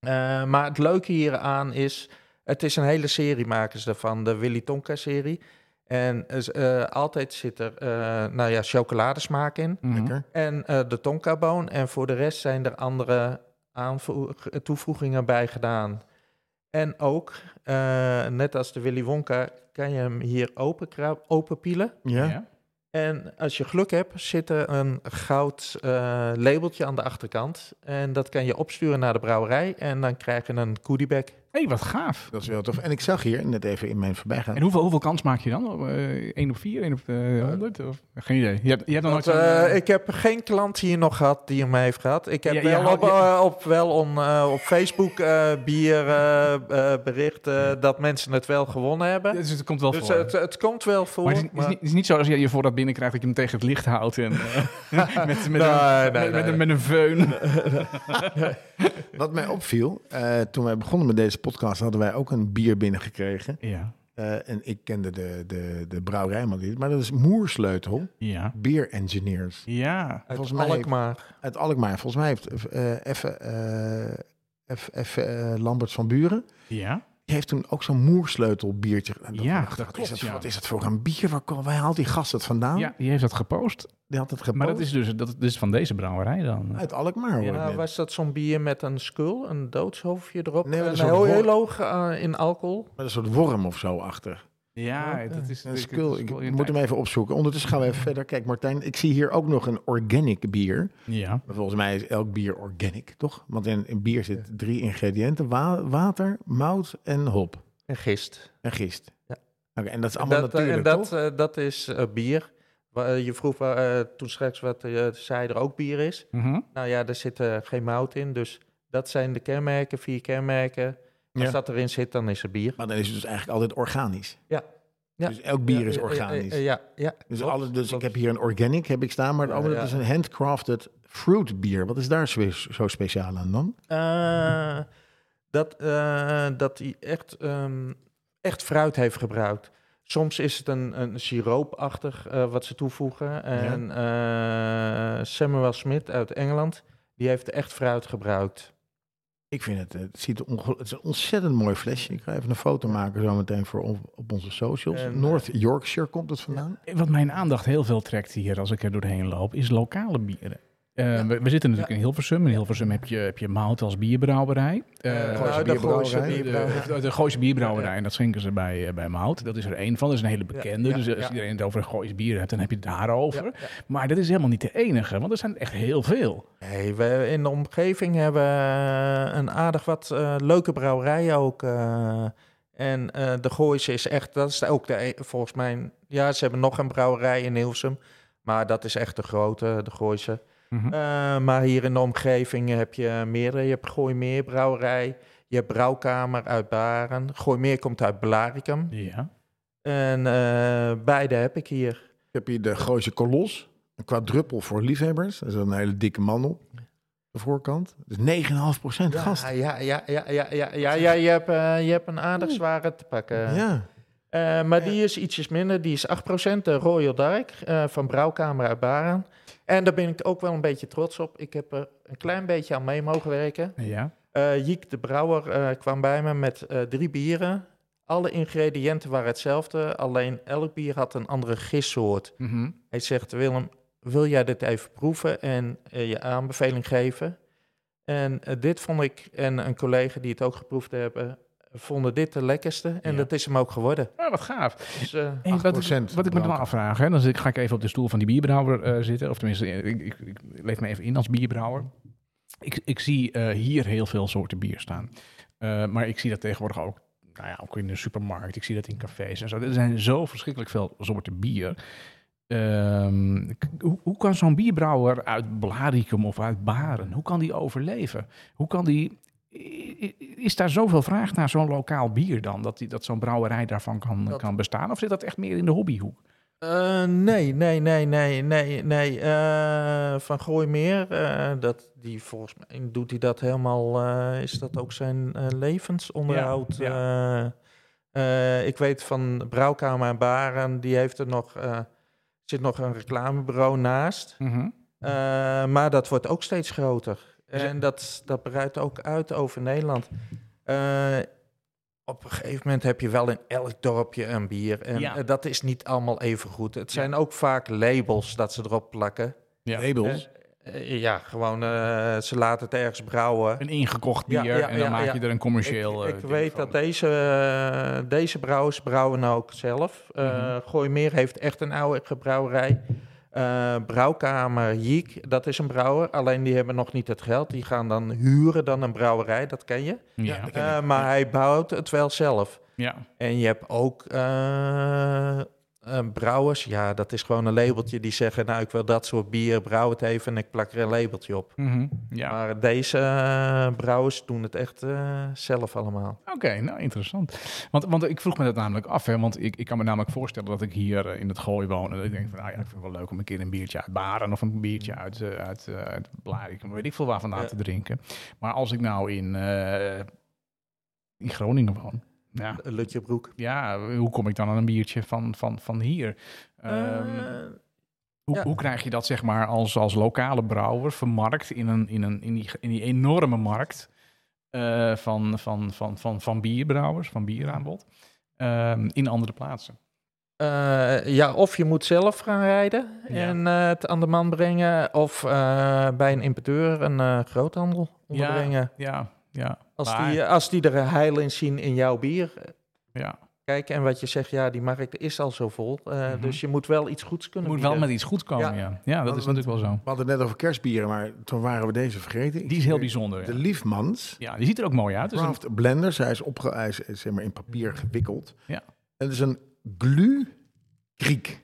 C: Eh, maar het leuke hieraan is, het is een hele serie makers daarvan, de Willy Tonka serie. En eh, z- eh, altijd zit er, eh, nou ja, chocoladesmaak in
B: Mhm.
A: Lekker.
C: en eh, de tonkaboon. En voor de rest zijn er andere aanvo- toevoegingen bij gedaan. En ook, eh, net als de Willy Wonka, kan je hem hier openkrab- openpielen.
A: Ja.
B: Ja.
C: En als je geluk hebt, zit er een goud eh, labeltje aan de achterkant. En dat kan je opsturen naar de brouwerij. En dan krijg je een goodiebag.
B: hey, wat gaaf.
A: Dat is wel tof. En ik zag hier, net even in mijn voorbijgaan.
B: En hoeveel, hoeveel kans maak je dan? 1 op 4, 1 op eh, 100? Of? Geen idee. Je hebt, je hebt nog nooit
C: Want,
B: zo'n...
C: eh, ik heb geen klant hier nog gehad die hem heeft gehad. Ik heb
B: Ja, je
C: wel,
B: houdt-
C: op, eh, op, wel on, eh, op Facebook eh, bier eh, eh, berichten dat mensen het wel gewonnen hebben.
B: dus het komt wel
C: Dus
B: voor.
C: het, het komt wel voor.
B: maar het is, het is niet, het is niet zo als je je voorraad binnenkrijgt dat je hem tegen het licht houdt. En, eh, met, met,
C: Nee,
B: een,
C: nee,
B: met, met
C: nee.
B: een, met een veun.
A: Wat mij opviel, eh, toen wij begonnen met deze podcast, hadden wij ook een bier binnengekregen.
B: Ja,
A: Eh, en ik kende de, de, de brouwerij maar niet. Maar dat is Moersleutel,
B: ja,
A: Beer Engineers.
B: ja.
C: Uit
A: volgens mij heeft-
C: Alkmaar.
A: Uit Alkmaar. Volgens mij heeft eh even, eh F- F, eh, Lamberts van Buren...
B: Ja,
A: Die heeft toen ook zo'n moersleutel biertje.
B: Ja, dat
A: wat, is
B: klopt,
A: dat,
B: ja.
A: wat is dat voor een bier? Waar, kom- waar haalt die gast het vandaan?
B: ja, die heeft dat gepost.
A: Die had het gepost.
B: Maar dat is dus dat is van deze brouwerij dan.
A: Uit Alkmaar hoor
C: Ja,
A: ik net.
C: was dat zo'n bier met een skul, een doodshoofdje erop?
A: Nee, maar
C: en
A: dat is
C: heel,
A: ook
C: heel
A: wor-
C: hoog eh, in alcohol.
A: Met een soort worm of zo achter.
B: Ja, dat is
A: Een
B: dat-
A: skull.
B: dat is
A: Ik
B: wel
A: moet hem even opzoeken. Ondertussen gaan we even verder. Kijk, Martijn, ik zie hier ook nog een organic bier.
B: Ja.
A: Maar Volgens mij is elk bier organic, toch? Want in, in bier zit drie ingrediënten: wa- water, mout en hop.
C: En gist.
A: En gist.
C: Ja.
A: Oké, en dat is allemaal
C: Dat, eh, en
A: natuurlijk,
C: dat,
A: toch?
C: eh, dat is eh, bier. Wa- eh, je vroeg eh, toen straks wat je zei er ook bier is.
B: Mhm.
C: Nou ja, daar zit eh, geen mout in. Dus dat zijn de kenmerken, vier kenmerken. Als
A: Ja.
C: dat erin zit, dan is het bier.
A: Maar dan is het dus eigenlijk altijd organisch.
C: Ja. Ja.
A: Dus elk bier
C: Ja,
A: is
C: eh, eh,
A: organisch.
C: eh, Ja, ja.
A: dus
C: klopt,
A: alles, dus ik
C: klopt.
A: heb hier een organic heb ik staan, maar het
C: Ja,
A: andere
C: ja.
A: dat is een handcrafted fruit bier. Wat is daar zo, zo speciaal aan dan?
C: Eh, dat, eh, dat hij echt, ehm, echt fruit heeft gebruikt. Soms is het een, een siroopachtig eh, wat ze toevoegen. En eh, Samuel Smith uit Engeland, die heeft echt fruit gebruikt.
A: Ik vind het, eh, het, ziet er onge- het is een ontzettend mooi flesje. Ik ga even een foto maken zo meteen voor op, op onze socials.
C: En, eh,
A: North Yorkshire komt het vandaan.
B: Wat mijn aandacht heel veel trekt hier als ik er doorheen loop, is lokale bieren. Eh, we, we zitten natuurlijk in Hilversum. In Hilversum heb je, heb je mout als bierbrouwerij. Eh,
C: Eh,
A: Gooise
C: nou, de Gooise
A: bierbrouwerij.
C: bierbrouwerij.
B: de, de, de Gooise bierbrouwerij.
C: Ja, ja.
B: En dat schenken ze bij, eh, bij Mout. Dat is er één van. Dat is een hele bekende.
C: ja,
B: dus als
C: ja.
B: iedereen het over een Gooise bier hebt, dan heb je het daarover.
C: Ja,
B: Maar dat is helemaal niet de enige. Want er zijn echt heel veel.
C: Nee, we in de omgeving hebben eh, een aardig wat eh, leuke brouwerijen ook. eh. en eh, de Gooise is echt, dat is ook de, e- volgens mij, ja, ze hebben nog een brouwerij in Hilversum. Maar dat is echt de grote, de Gooise.
B: Mhm.
C: Eh, maar hier in de omgeving heb je meerdere. Je hebt Gooimeer Brouwerij, je hebt Brouwkamer uit Baren. Gooimeer komt uit Blaricum.
B: Ja.
C: En eh, beide heb ik hier.
A: Ik heb hier de Gooise Kolos. Een kwadruppel voor liefhebbers. Dat is een hele dikke man op de voorkant. Dus 9,5 procent gast.
C: Ja, Ah, ja, ja, ja, ja, ja, ja, ja, je, hebt, eh, je hebt een aardig zware te pakken.
A: ja.
C: Eh, maar die is ietsjes minder. Die is 8%, de Royal Dark eh, van Brouwkamer uit Baren. En daar ben ik ook wel een beetje trots op. Ik heb er een klein beetje aan mee mogen werken.
B: Ja.
C: Eh Jiek de Brouwer eh, kwam bij me met eh, drie bieren. Alle ingrediënten waren hetzelfde, alleen elk bier had een andere gistsoort.
B: Mhm.
C: Hij zegt, Willem, wil jij dit even proeven en eh, je aanbeveling geven? En eh, dit vond ik, en een collega die het ook geproefd hebben, vonden dit de lekkerste. En
B: Ja.
C: dat is hem ook geworden.
B: Ah, wat gaaf.
C: Dus, eh,
B: Hey, wat, ik,
A: 8%
B: wat ik me dan
A: blanco.
B: afvraag, hè, dan zit- ga ik even op de stoel van die bierbrouwer eh, zitten. Of tenminste, eh, ik, ik, ik leef me even in als bierbrouwer. Ik, ik zie eh, hier heel veel soorten bier staan. Eh, maar ik zie dat tegenwoordig ook, nou ja, ook in de supermarkt. Ik zie dat in cafés en zo. Er zijn zo verschrikkelijk veel soorten bier. Ehm, k- hoe, hoe kan zo'n bierbrouwer uit Blaricum of uit Baren, hoe kan die overleven? Hoe kan die... i- i- Is daar zoveel vraag naar zo'n lokaal bier dan? Dat, die- dat zo'n brouwerij daarvan kan,
C: Dat-
B: kan bestaan? Of zit dat echt meer in de hobbyhoek?
C: Eh, nee, nee, nee, nee, nee, nee. Eh, van Gooimeer, eh dat, die volgens mij doet hij dat helemaal. eh, is dat ook zijn eh, levensonderhoud?
B: Ja,
C: Eh, eh, ik weet van Brouwkamer en Baren, die heeft er nog. eh, zit nog een reclamebureau naast. Eh, maar dat wordt ook steeds groter. En dat, dat breidt ook uit over Nederland. Eh, op een gegeven moment heb je wel in elk dorpje een bier. En
B: Ja.
C: eh, dat is niet allemaal even goed. Het zijn ook vaak labels dat ze erop plakken.
B: Ja.
A: Labels.
C: Eh, ja, gewoon eh, ze laten het ergens brouwen.
B: Een ingekocht bier
C: Ja, ja,
B: en dan
C: ja,
B: maak
C: ja.
B: je er een commercieel...
C: ik
B: eh,
C: ik
B: ding
C: weet
B: van.
C: dat deze, eh, deze brouwers brouwen nou ook zelf. Eh
B: Mhm.
C: Gooimeer heeft echt een oude brouwerij. Eh, brouwkamer Jiek, dat is een brouwer. Alleen die hebben nog niet het geld. Die gaan dan huren dan een brouwerij, dat ken je.
B: Ja, ja.
C: Eh, maar hij bouwt het wel zelf. En je hebt ook eh, eh, brouwers. Ja, dat is gewoon een labeltje die zeggen... nou, ik wil dat soort bier, brouw het even en ik plak er een labeltje op.
B: Mhm. ja.
C: Maar deze eh, brouwers doen het echt eh, zelf allemaal.
B: Oké, nou interessant. Want, want ik vroeg me dat namelijk af, hè, want ik, ik kan me namelijk voorstellen dat ik hier eh, in het gooi woon. En ik denk van, nou ja, ik vind het wel leuk om een keer een biertje uit Baren of een biertje uit, eh, uit, eh, uit Blarikum, weet ik veel waar vandaan
C: Ja.
B: te drinken. Maar als ik nou in, eh, in Groningen woon, ja,
C: Lutje Broek.
B: ja, hoe kom ik dan aan een biertje van, van, van hier? Ehm, hoe,
C: Eh, ja.
B: hoe krijg je dat zeg maar als, als lokale brouwer vermarkt in, een, in, een, in, die, in die enorme markt eh, van, van, van, van, van bierbrouwers, van bieraanbod, ehm, in andere plaatsen?
C: Eh, ja, of je moet zelf gaan rijden
B: Ja.
C: en eh, het aan de man brengen. Of eh, bij een importeur een eh, groothandel onderbrengen.
B: Ja, ja,
C: Als, eh,
B: maar-
C: die, als die er heil in zien in jouw bier.
B: ja.
C: Kijk, en wat je zegt, ja, die markt is al zo vol. eh,
B: Mhm.
C: Dus je moet wel iets goeds
B: Je
C: kunnen
B: moet wel
C: bieden.
B: met iets goed komen, ja.
C: Ja.
B: Ja, dat is
A: Want-
B: natuurlijk wel zo.
A: We hadden het net over kerstbieren, maar toen waren we deze vergeten. Ik
B: Die is
A: zie
B: heel
A: hier
B: bijzonder.
A: De
B: Ja,
A: Liefmans.
B: ja die ziet er ook mooi uit. Dus een-
A: Craft blenders. Hij is, opge hij is, eh, zeg maar, in papier gewikkeld.
B: Ja.
A: En het is een glukriek.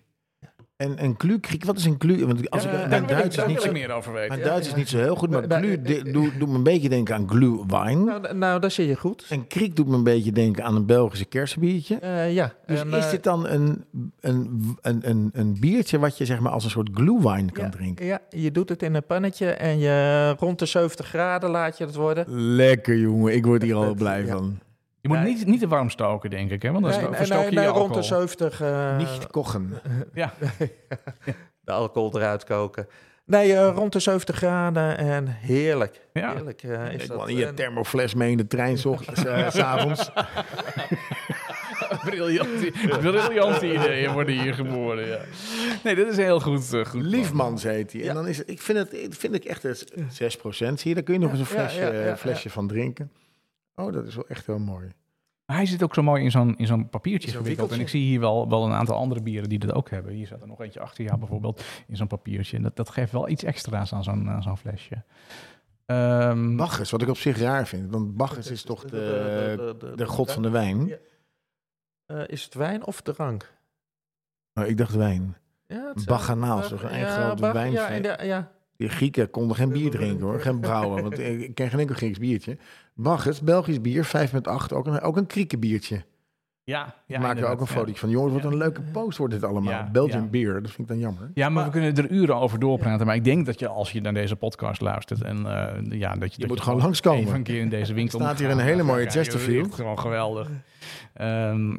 A: En een glukriek, wat is een glu? Want als ik,
C: Eh,
A: mijn
B: daar wil ik,
A: Duits is
B: daar
A: niet
B: wil
A: zo,
B: ik meer over weten.
A: mijn Duits is niet zo heel goed, maar
C: Maar-
A: glu
B: eh,
C: maar-
A: de- doe- doet me een beetje denken aan glühwein.
C: Nou, d- nou, daar zit je goed.
A: En kriek doet me een beetje denken aan een Belgische kersenbiertje.
C: Eh, ja.
A: Dus
C: en,
A: is
C: eh,
A: dit dan een, een, een, een, een biertje wat je zeg maar als een soort glühwein kan
C: ja,
A: drinken?
C: Ja, je doet het in een pannetje en je rond de 70 graden laat je het worden.
A: Lekker jongen, ik word hier al blij
C: Ja.
A: van.
B: Je moet
C: Ja.
B: niet, niet te warm stoken, denk ik. Hè? Want dan
C: Nee,
B: sto-
C: nee,
B: verstook
C: nee,
B: je
C: nee,
B: je
C: rond de
B: alcohol.
C: 70. eh,
A: Niet kochen.
C: de alcohol eruit koken. Nee, eh, rond de 70 graden en heerlijk.
B: Ja.
C: Heerlijk eh, is
A: Ik
C: dat.
A: kwam hier
C: En-
A: thermofles mee in de trein, s ochtends, eh, s avonds.
B: Briljant, briljante ideeën worden hier geboren. Ja. Nee, dit is een heel goed. eh, goed
A: Liefmans heet hij. En dan is het, ik vind het, ik vind ik echt het 6% zie je. Daar kun je nog eens een
C: ja,
A: flesje, eh,
C: ja, ja,
A: flesje van drinken. Oh, dat is wel echt heel mooi.
B: Mm. Maar hij zit ook zo mooi in zo'n, in zo'n papiertje
A: In zo'n
B: gewikkeld. En ik
A: wikkeltje.
B: zie hier wel, wel een aantal andere bieren die dat ook hebben. Hier zat er nog eentje achter jou bijvoorbeeld in zo'n papiertje. En dat, dat geeft wel iets extra's aan zo'n, aan zo'n flesje. Ehm,
A: Bacchus, wat ik op zich raar vind. Want Bacchus is toch de, de god van de wijn.
C: Ja. Eh, is het wijn of drank?
A: Maar Nou, ik dacht wijn.
C: Ja, het is-
A: Bacchanal,
C: Bach-
A: toch? Een
C: ja,
A: grote
C: Bach-
A: wijn.
C: Ja, in de- ja.
A: Die Grieken konden geen bier drinken hoor, geen brouwen. Want ik ik ken geen enkel Grieks biertje. Bacchus, Belgisch bier, 5,8. Ook een, ook een kriekenbiertje.
B: ja,
A: Maak er
B: ja,
A: ook een
B: inderdaad, ja.
A: fotootje van. Jongens, wat een leuke post wordt dit allemaal.
B: Ja,
A: Belgian
B: ja.
A: beer, dat vind ik dan jammer.
B: Ja, maar, we kunnen er uren over doorpraten. Maar ik denk dat je als je naar deze podcast luistert en eh, ja, dat je, dat
A: moet gewoon langskomen.
B: Even een keer in deze winkel.
A: Staat
B: moet
A: hier
B: gaan.
A: een hele mooie
B: Ja, joh,
A: Chesterfield.
B: echt Gewoon geweldig. Ehm,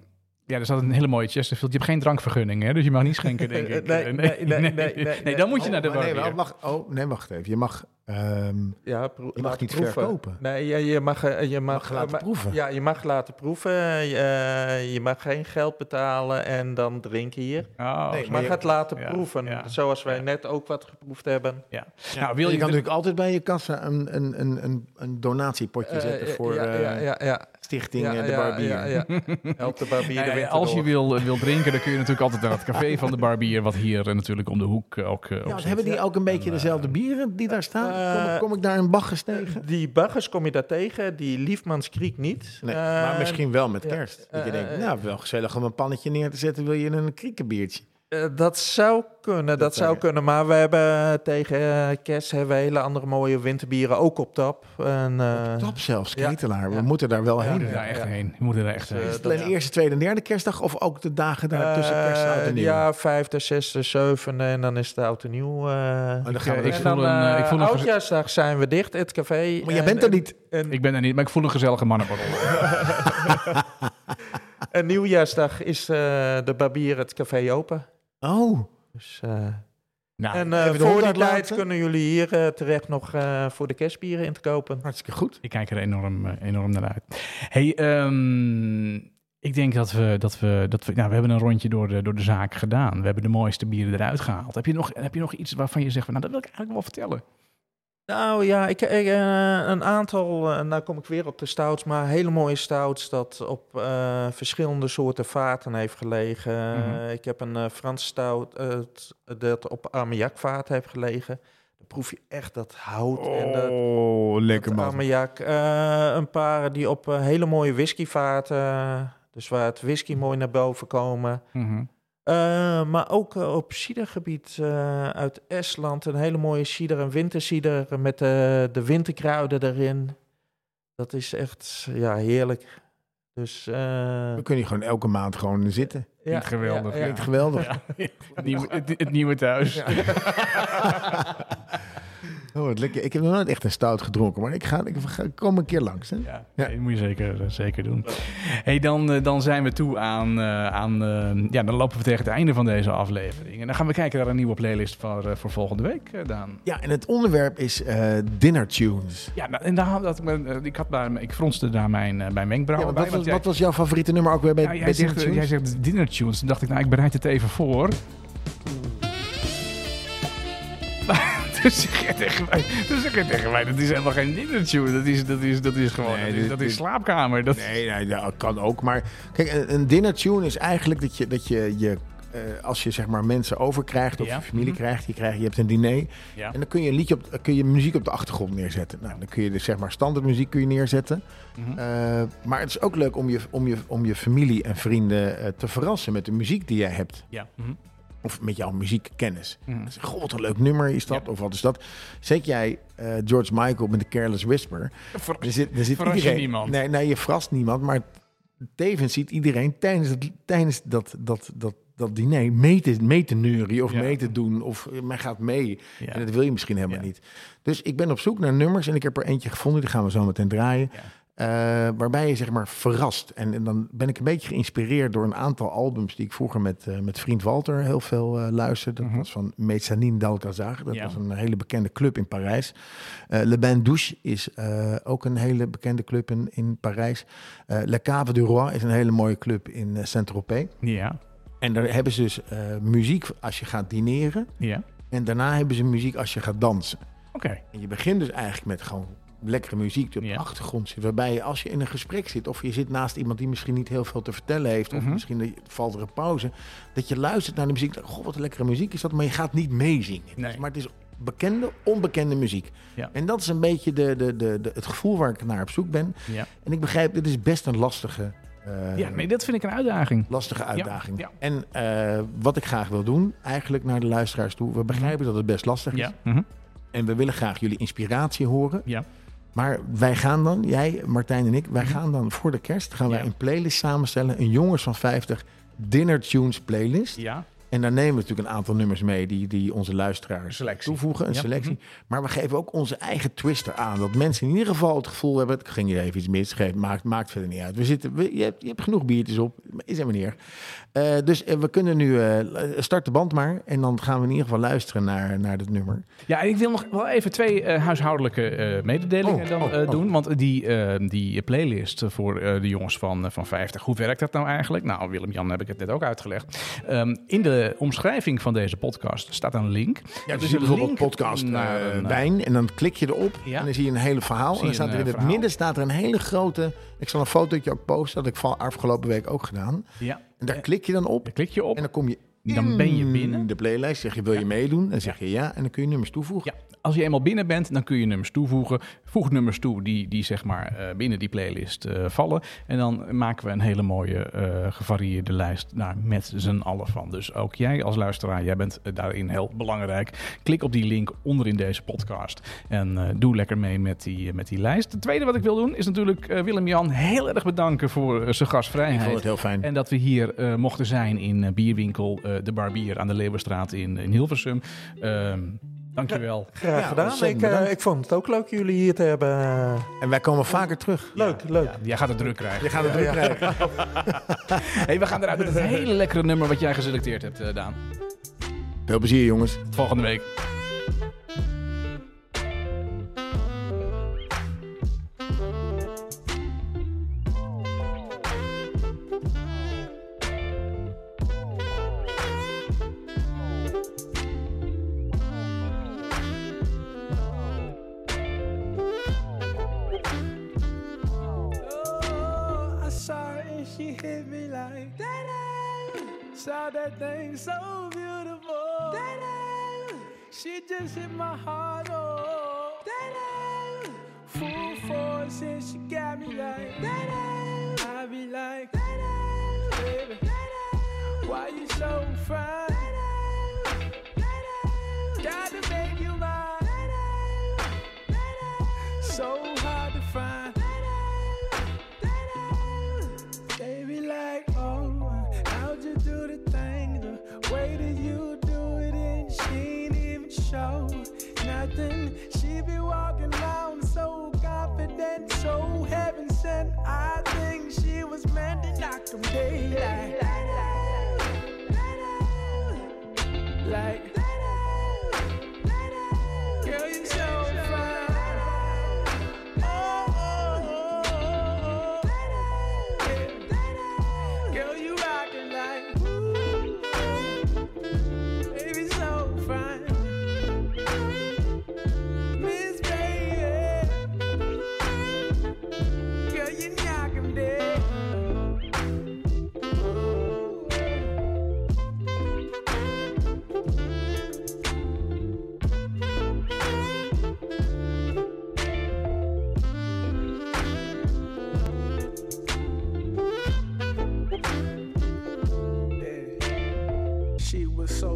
B: ja, er staat een hele mooie Chesterfield. Je hebt geen drankvergunning, hè? Dus je mag niet schenken, denk ik.
C: Nee, nee, nee, nee, nee.
B: Nee, dan moet je
A: Oh,
B: naar de
A: maar nee,
B: barbier.
A: wacht, wacht, oh, nee, wacht even. Je mag, ehm,
C: Ja, pro-
A: je mag
C: laten
A: niet
C: proeven.
A: verkopen.
C: Nee, je, je mag, eh, je mag,
A: Mag laten
C: eh, ma-
A: proeven.
C: Ja, je mag laten proeven. Je, eh, je mag geen geld betalen en dan drinken hier.
A: Nee,
B: Oh, zo.
A: maar
C: Maar
A: je-
C: gaat laten
B: ja,
C: proeven,
B: ja,
C: zoals wij
B: ja.
C: net ook wat geproefd hebben.
B: ja. Nou, wil
A: je,
B: je,
A: kan natuurlijk altijd bij je kassa een, een, een, een, een donatiepotje
C: Eh,
A: zetten
C: eh,
A: voor
C: ja,
A: eh,
C: ja, ja, ja.
A: stichting
C: Ja,
A: eh, de
C: ja,
A: barbier.
C: Ja, ja. Help de barbier
B: Nou
C: de
B: ja,
C: winter
B: als je
C: door.
B: wil, wil drinken, dan kun je natuurlijk altijd naar het café van de barbier, wat hier eh, natuurlijk om de hoek eh, ook eh, op
A: Ja,
B: zit.
A: dus hebben die ook een beetje dezelfde bieren die daar staan?
C: Eh,
A: kom, ik- kom ik daar een Bacchus tegen?
C: Die baggers kom je daar tegen, die Liefmanskriek niet.
A: Nee,
C: Eh,
A: maar misschien wel met
C: ja,
A: kerst. dat je
C: eh,
A: denkt,
C: eh,
A: nou, wel gezellig om een pannetje neer te zetten. Wil je een kriekenbiertje?
C: eh, dat zou kunnen, dat,
A: Dat,
C: zou
A: eh,
C: kunnen. Maar we hebben tegen eh, kerst hebben we hele andere mooie winterbieren ook op tap. En, eh,
A: Top zelfs,
C: ja,
A: Ketelaar. We
C: ja.
A: moeten daar wel
C: Ja,
A: heen.
B: Je moet er daar echt
C: Ja.
B: heen. Je moet er daar echt
C: Dus, eh,
B: heen.
A: Is het
C: dat-
A: alleen eerste, tweede en derde kerstdag? Of ook de dagen daar tussen kerst en oud en
C: eh,
A: nieuw?
C: Ja, vijfde, zesde, zevende en dan is het oud en nieuw. eh.
A: Oh, dan gaan we
B: Ik
A: er-
C: en
B: voel
C: dan
B: een, eh, ik
C: eh,
B: voel een gez-
C: oudjaarsdag zijn we dicht, het café.
A: maar jij
C: en-
A: bent er niet.
C: en-
B: Ik ben er niet, maar ik voel een gezellige mannenborrel.
C: en nieuwjaarsdag is eh, de barbier het café open.
A: Oh,
C: Dus, eh,
B: Nou,
C: en eh,
A: even de
C: voor
A: hond
C: die
A: uitlaten.
C: tijd kunnen jullie hier eh, terecht nog eh, voor de kerstbieren in te kopen.
A: hartstikke goed.
B: Ik kijk er enorm, eh, enorm naar uit. Hey, ehm, ik denk dat we, dat we, dat we, nou, we hebben een rondje door de, door de zaak gedaan. We hebben de mooiste bieren eruit gehaald. Heb je nog, heb je nog iets waarvan je zegt, van, nou, dat wil ik eigenlijk wel vertellen?
C: Nou ja, ik, ik, eh, een aantal, eh, nou kom ik weer op de stouts, maar hele mooie stouts dat op eh, verschillende soorten vaten heeft gelegen.
B: Mhm.
C: Ik heb een eh Frans stout eh, t- dat op armiakvaat heeft gelegen. Dan proef je echt dat hout en dat,
A: Oh, lekker
C: dat armiak. Eh, een paar die op eh, hele mooie whiskyvaten, dus waar het whisky mooi naar boven komen.
A: Mhm.
C: Eh, maar ook eh, op cidergebied eh, uit Estland. Een hele mooie cider, een wintercider met eh, de winterkruiden erin. Dat is echt ja, heerlijk. Dus, eh,
A: We kunnen hier gewoon elke maand gewoon zitten.
C: ja,
B: niet geweldig,
C: ja, ja.
A: Klinkt geweldig.
B: Het, nieuwe, het, het nieuwe thuis.
A: Oh, wat lekker. Ik heb nog nooit echt een stout gedronken, maar ik, ga, ik, ga- ik kom een keer langs. Hè?
B: Ja, nee, dat moet je zeker, eh, zeker doen. Hey, dan, eh, dan zijn we toe aan... eh, aan eh, ja, dan lopen we tegen het einde van deze aflevering. En dan gaan we kijken naar een nieuwe playlist voor, eh, voor volgende week, eh, Daan.
A: Ja, en het onderwerp is eh, dinner tunes.
B: Ja, nou, en daar had ik, me- eh, ik, had daar, ik fronste daar mijn, eh, mijn
A: Ja,
B: wenkbrauwen
A: want wat,
B: bij.
A: was,
B: want jij-
A: wat was jouw favoriete nummer ook weer bij,
B: ja, jij,
A: bij
B: zegt, eh,
A: Dinner Tunes?
B: jij zegt dinner tunes. Toen dacht ik, nou, ik bereid het even voor. Maar Toen zeg je tegen mij, toen zeg je tegen mij, dat is helemaal geen dinnertune. Dat is, dat is, dat is gewoon,
A: Nee,
B: dat, is,
A: dit-
B: dat is
A: dit-
B: slaapkamer. Dat,
A: Nee, nee, dat kan ook. Maar kijk, een, een dinner tune is eigenlijk dat je, dat je, je eh, als je zeg maar mensen overkrijgt of
B: Ja.
A: je familie
B: Mhm.
A: krijgt, je, krijgt, je hebt een diner.
B: Ja.
A: En dan kun je, een liedje op, eh, kun je muziek op de achtergrond neerzetten. Nou, dan kun je dus zeg maar standaard muziek kun je neerzetten.
B: Mhm.
A: Eh, maar het is ook leuk om je, om je, om je familie en vrienden eh, te verrassen met de muziek die jij hebt.
B: Ja. Mhm.
A: Of met jouw muziekkennis.
B: Mhm.
A: Ze zeggen, Goh, wat een leuk nummer is dat. Of wat is dat. Zet jij eh, George Michael met de Careless Whisper.
B: Ver-
A: Er zit, er zit
B: Verras je
A: iedereen,
B: niemand.
A: Nee, nee, je verrast niemand. Maar tevens ziet iedereen tijdens, het, tijdens dat, dat, dat, dat diner mee te, mee te neurien of
B: Ja.
A: mee te doen. Of eh, men gaat mee.
B: Ja.
A: En dat wil je misschien helemaal
B: Ja.
A: niet. Dus ik ben op zoek naar nummers. En ik heb er eentje gevonden. Die gaan we zo meteen draaien.
B: Ja.
A: Eh, waarbij je zeg maar verrast. En, en dan ben ik een beetje geïnspireerd door een aantal albums die ik vroeger met, eh, met vriend Walter heel veel eh, luisterde. Dat
B: Mhm.
A: was van Mezzanine d'Alcazar. Dat
B: Ja.
A: was een hele bekende club in Parijs. Eh Le Bain Douche is eh, ook een hele bekende club in, in Parijs. Eh Le Cave du Roi is een hele mooie club in eh, Saint-Tropez.
B: Ja,
A: En daar hebben ze dus eh, muziek als je gaat dineren.
B: ja.
A: En daarna hebben ze muziek als je gaat dansen.
B: Oké.
A: En je begint dus eigenlijk met gewoon lekkere muziek die op
B: Ja.
A: de achtergrond zit. Waarbij je als je in een gesprek zit of je zit naast iemand die misschien niet heel veel te vertellen heeft. Of
B: Mhm.
A: misschien dat je- valt er een pauze. Dat je luistert naar de muziek. denkt, Goh, wat een lekkere muziek is dat. Maar je gaat niet meezingen. Het is-
B: Nee.
A: Maar het is bekende, onbekende muziek.
B: Ja.
A: En dat is een beetje de, de, de, de- het gevoel waar ik naar op zoek ben.
B: Ja.
A: En ik begrijp, dit is best een lastige, eh,
B: ja, nee, dat vind ik een uitdaging.
A: lastige uitdaging.
B: ja.
A: En eh, wat ik graag wil doen, eigenlijk naar de luisteraars toe. We begrijpen dat het best lastig is.
B: Ja. Mhm.
A: En we willen graag jullie inspiratie horen.
B: Ja.
A: Maar wij gaan dan, jij, Martijn en ik, wij gaan dan voor de kerst gaan wij
B: Mhm. Ja.
A: een playlist samenstellen. Een jongens van 50 dinner tunes playlist.
B: Ja.
A: En daar nemen we natuurlijk een aantal nummers mee die, die onze luisteraars
B: selectie.
A: toevoegen. Een
B: Ja. mhm.
A: selectie. Maar we geven ook onze eigen twister aan. Dat mensen in ieder geval het gevoel hebben, het ging hier even iets mis. Geef, maakt, maakt verder niet uit. We zitten, we- je, hebt, je hebt genoeg biertjes op. Is helemaal niet erg. Eh, dus eh, we kunnen nu, eh, start de band maar. En dan gaan we in ieder geval luisteren naar, naar dit nummer.
B: Ja, en ik wil nog wel even twee eh, huishoudelijke eh, mededelingen
A: Oh,
B: dan,
A: oh,
B: eh,
A: oh.
B: doen. Want die, eh, die playlist voor eh, de jongens van, eh, van 50, hoe werkt dat nou eigenlijk? Nou, Willem-Jan heb ik het net ook uitgelegd. Ehm, in de omschrijving van deze podcast staat een link.
A: Ja,
B: Er
A: dus
B: is
A: je
B: een
A: bijvoorbeeld
B: link
A: podcast
B: naar
A: eh,
B: een, eh,
A: wijn en dan klik je erop
B: Ja.
A: en dan zie je een hele verhaal. En
B: Zie
A: dan
B: je
A: staat
B: een,
A: er in
B: eh,
A: het
B: verhaal.
A: midden staat er een hele grote... Ik zal een fotootje ook posten, dat had ik van afgelopen week ook gedaan.
B: eh, Ja,
A: En daar klik je dan op
B: daar klik je op.
A: en dan kom je
B: Dan ben je
A: in
B: binnen.
A: de playlist. Zeg je, wil je meedoen? Dan zeg je ja en dan kun je nummers toevoegen.
B: Ja, als je eenmaal binnen bent, dan kun je nummers toevoegen. Voeg nummers toe die, die zeg maar eh, binnen die playlist eh, vallen. En dan maken we een hele mooie eh, gevarieerde lijst daar met z'n allen van. Dus ook jij als luisteraar, jij bent eh, daarin heel belangrijk. Klik op die link onderin deze podcast en eh, doe lekker mee met die, eh, met die lijst. Het tweede wat ik wil doen is natuurlijk eh, Willem-Jan heel erg bedanken voor eh, zijn gastvrijheid.
A: Ik vond het heel fijn.
B: En dat we hier eh, mochten zijn in eh, bierwinkel eh, De Barbier aan de Leeuwenstraat in, in Hilversum. Ehm dankjewel.
C: Graag
A: Ja,
C: gedaan.
A: ontzettend
C: Ik, eh,
A: bedankt.
C: ik vond het ook leuk jullie hier te hebben.
A: En wij komen vaker terug.
C: Leuk, leuk.
B: Jij gaat het druk krijgen.
A: Je gaat het druk krijgen.
B: Hey, we gaan eruit met het hele lekkere nummer wat jij geselecteerd hebt, eh, Daan.
A: Veel plezier jongens.
B: Tot volgende week.
D: Oh, I saw her and she hit me like that. Saw that thing so beautiful. That she just hit my heart. Oh, that full force and she got me like that. I be like that, baby. Why you so fine? Gotta make you mine. So hard to find. Baby, like, oh, how'd you do the thing? The way that you do it, and she ain't even show nothing. She be walking around so confident, so heaven sent. I think she was meant to knock them daylight. Like, girl, you so fine. Oh, oh, oh, oh, oh. Yeah. Girl, you rockin' like ooh, baby, so fine.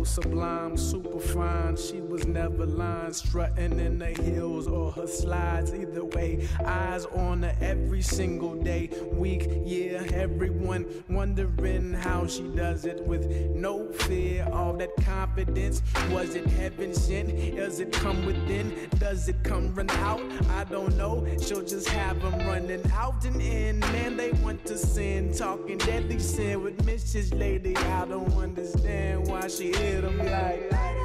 D: sublime, superfine. She was never lying, strutting in her heels or her slides. Either way, eyes on her every single day, week, year. Everyone wondering how she does it with no fear. All that confidence, was it heaven sent? Does it come within? Does it come run out? I don't know. She'll just have them running out and in. Man, they want to sin, talking deadly sin with Mrs. Lady. I don't understand why she hit him like. Oh,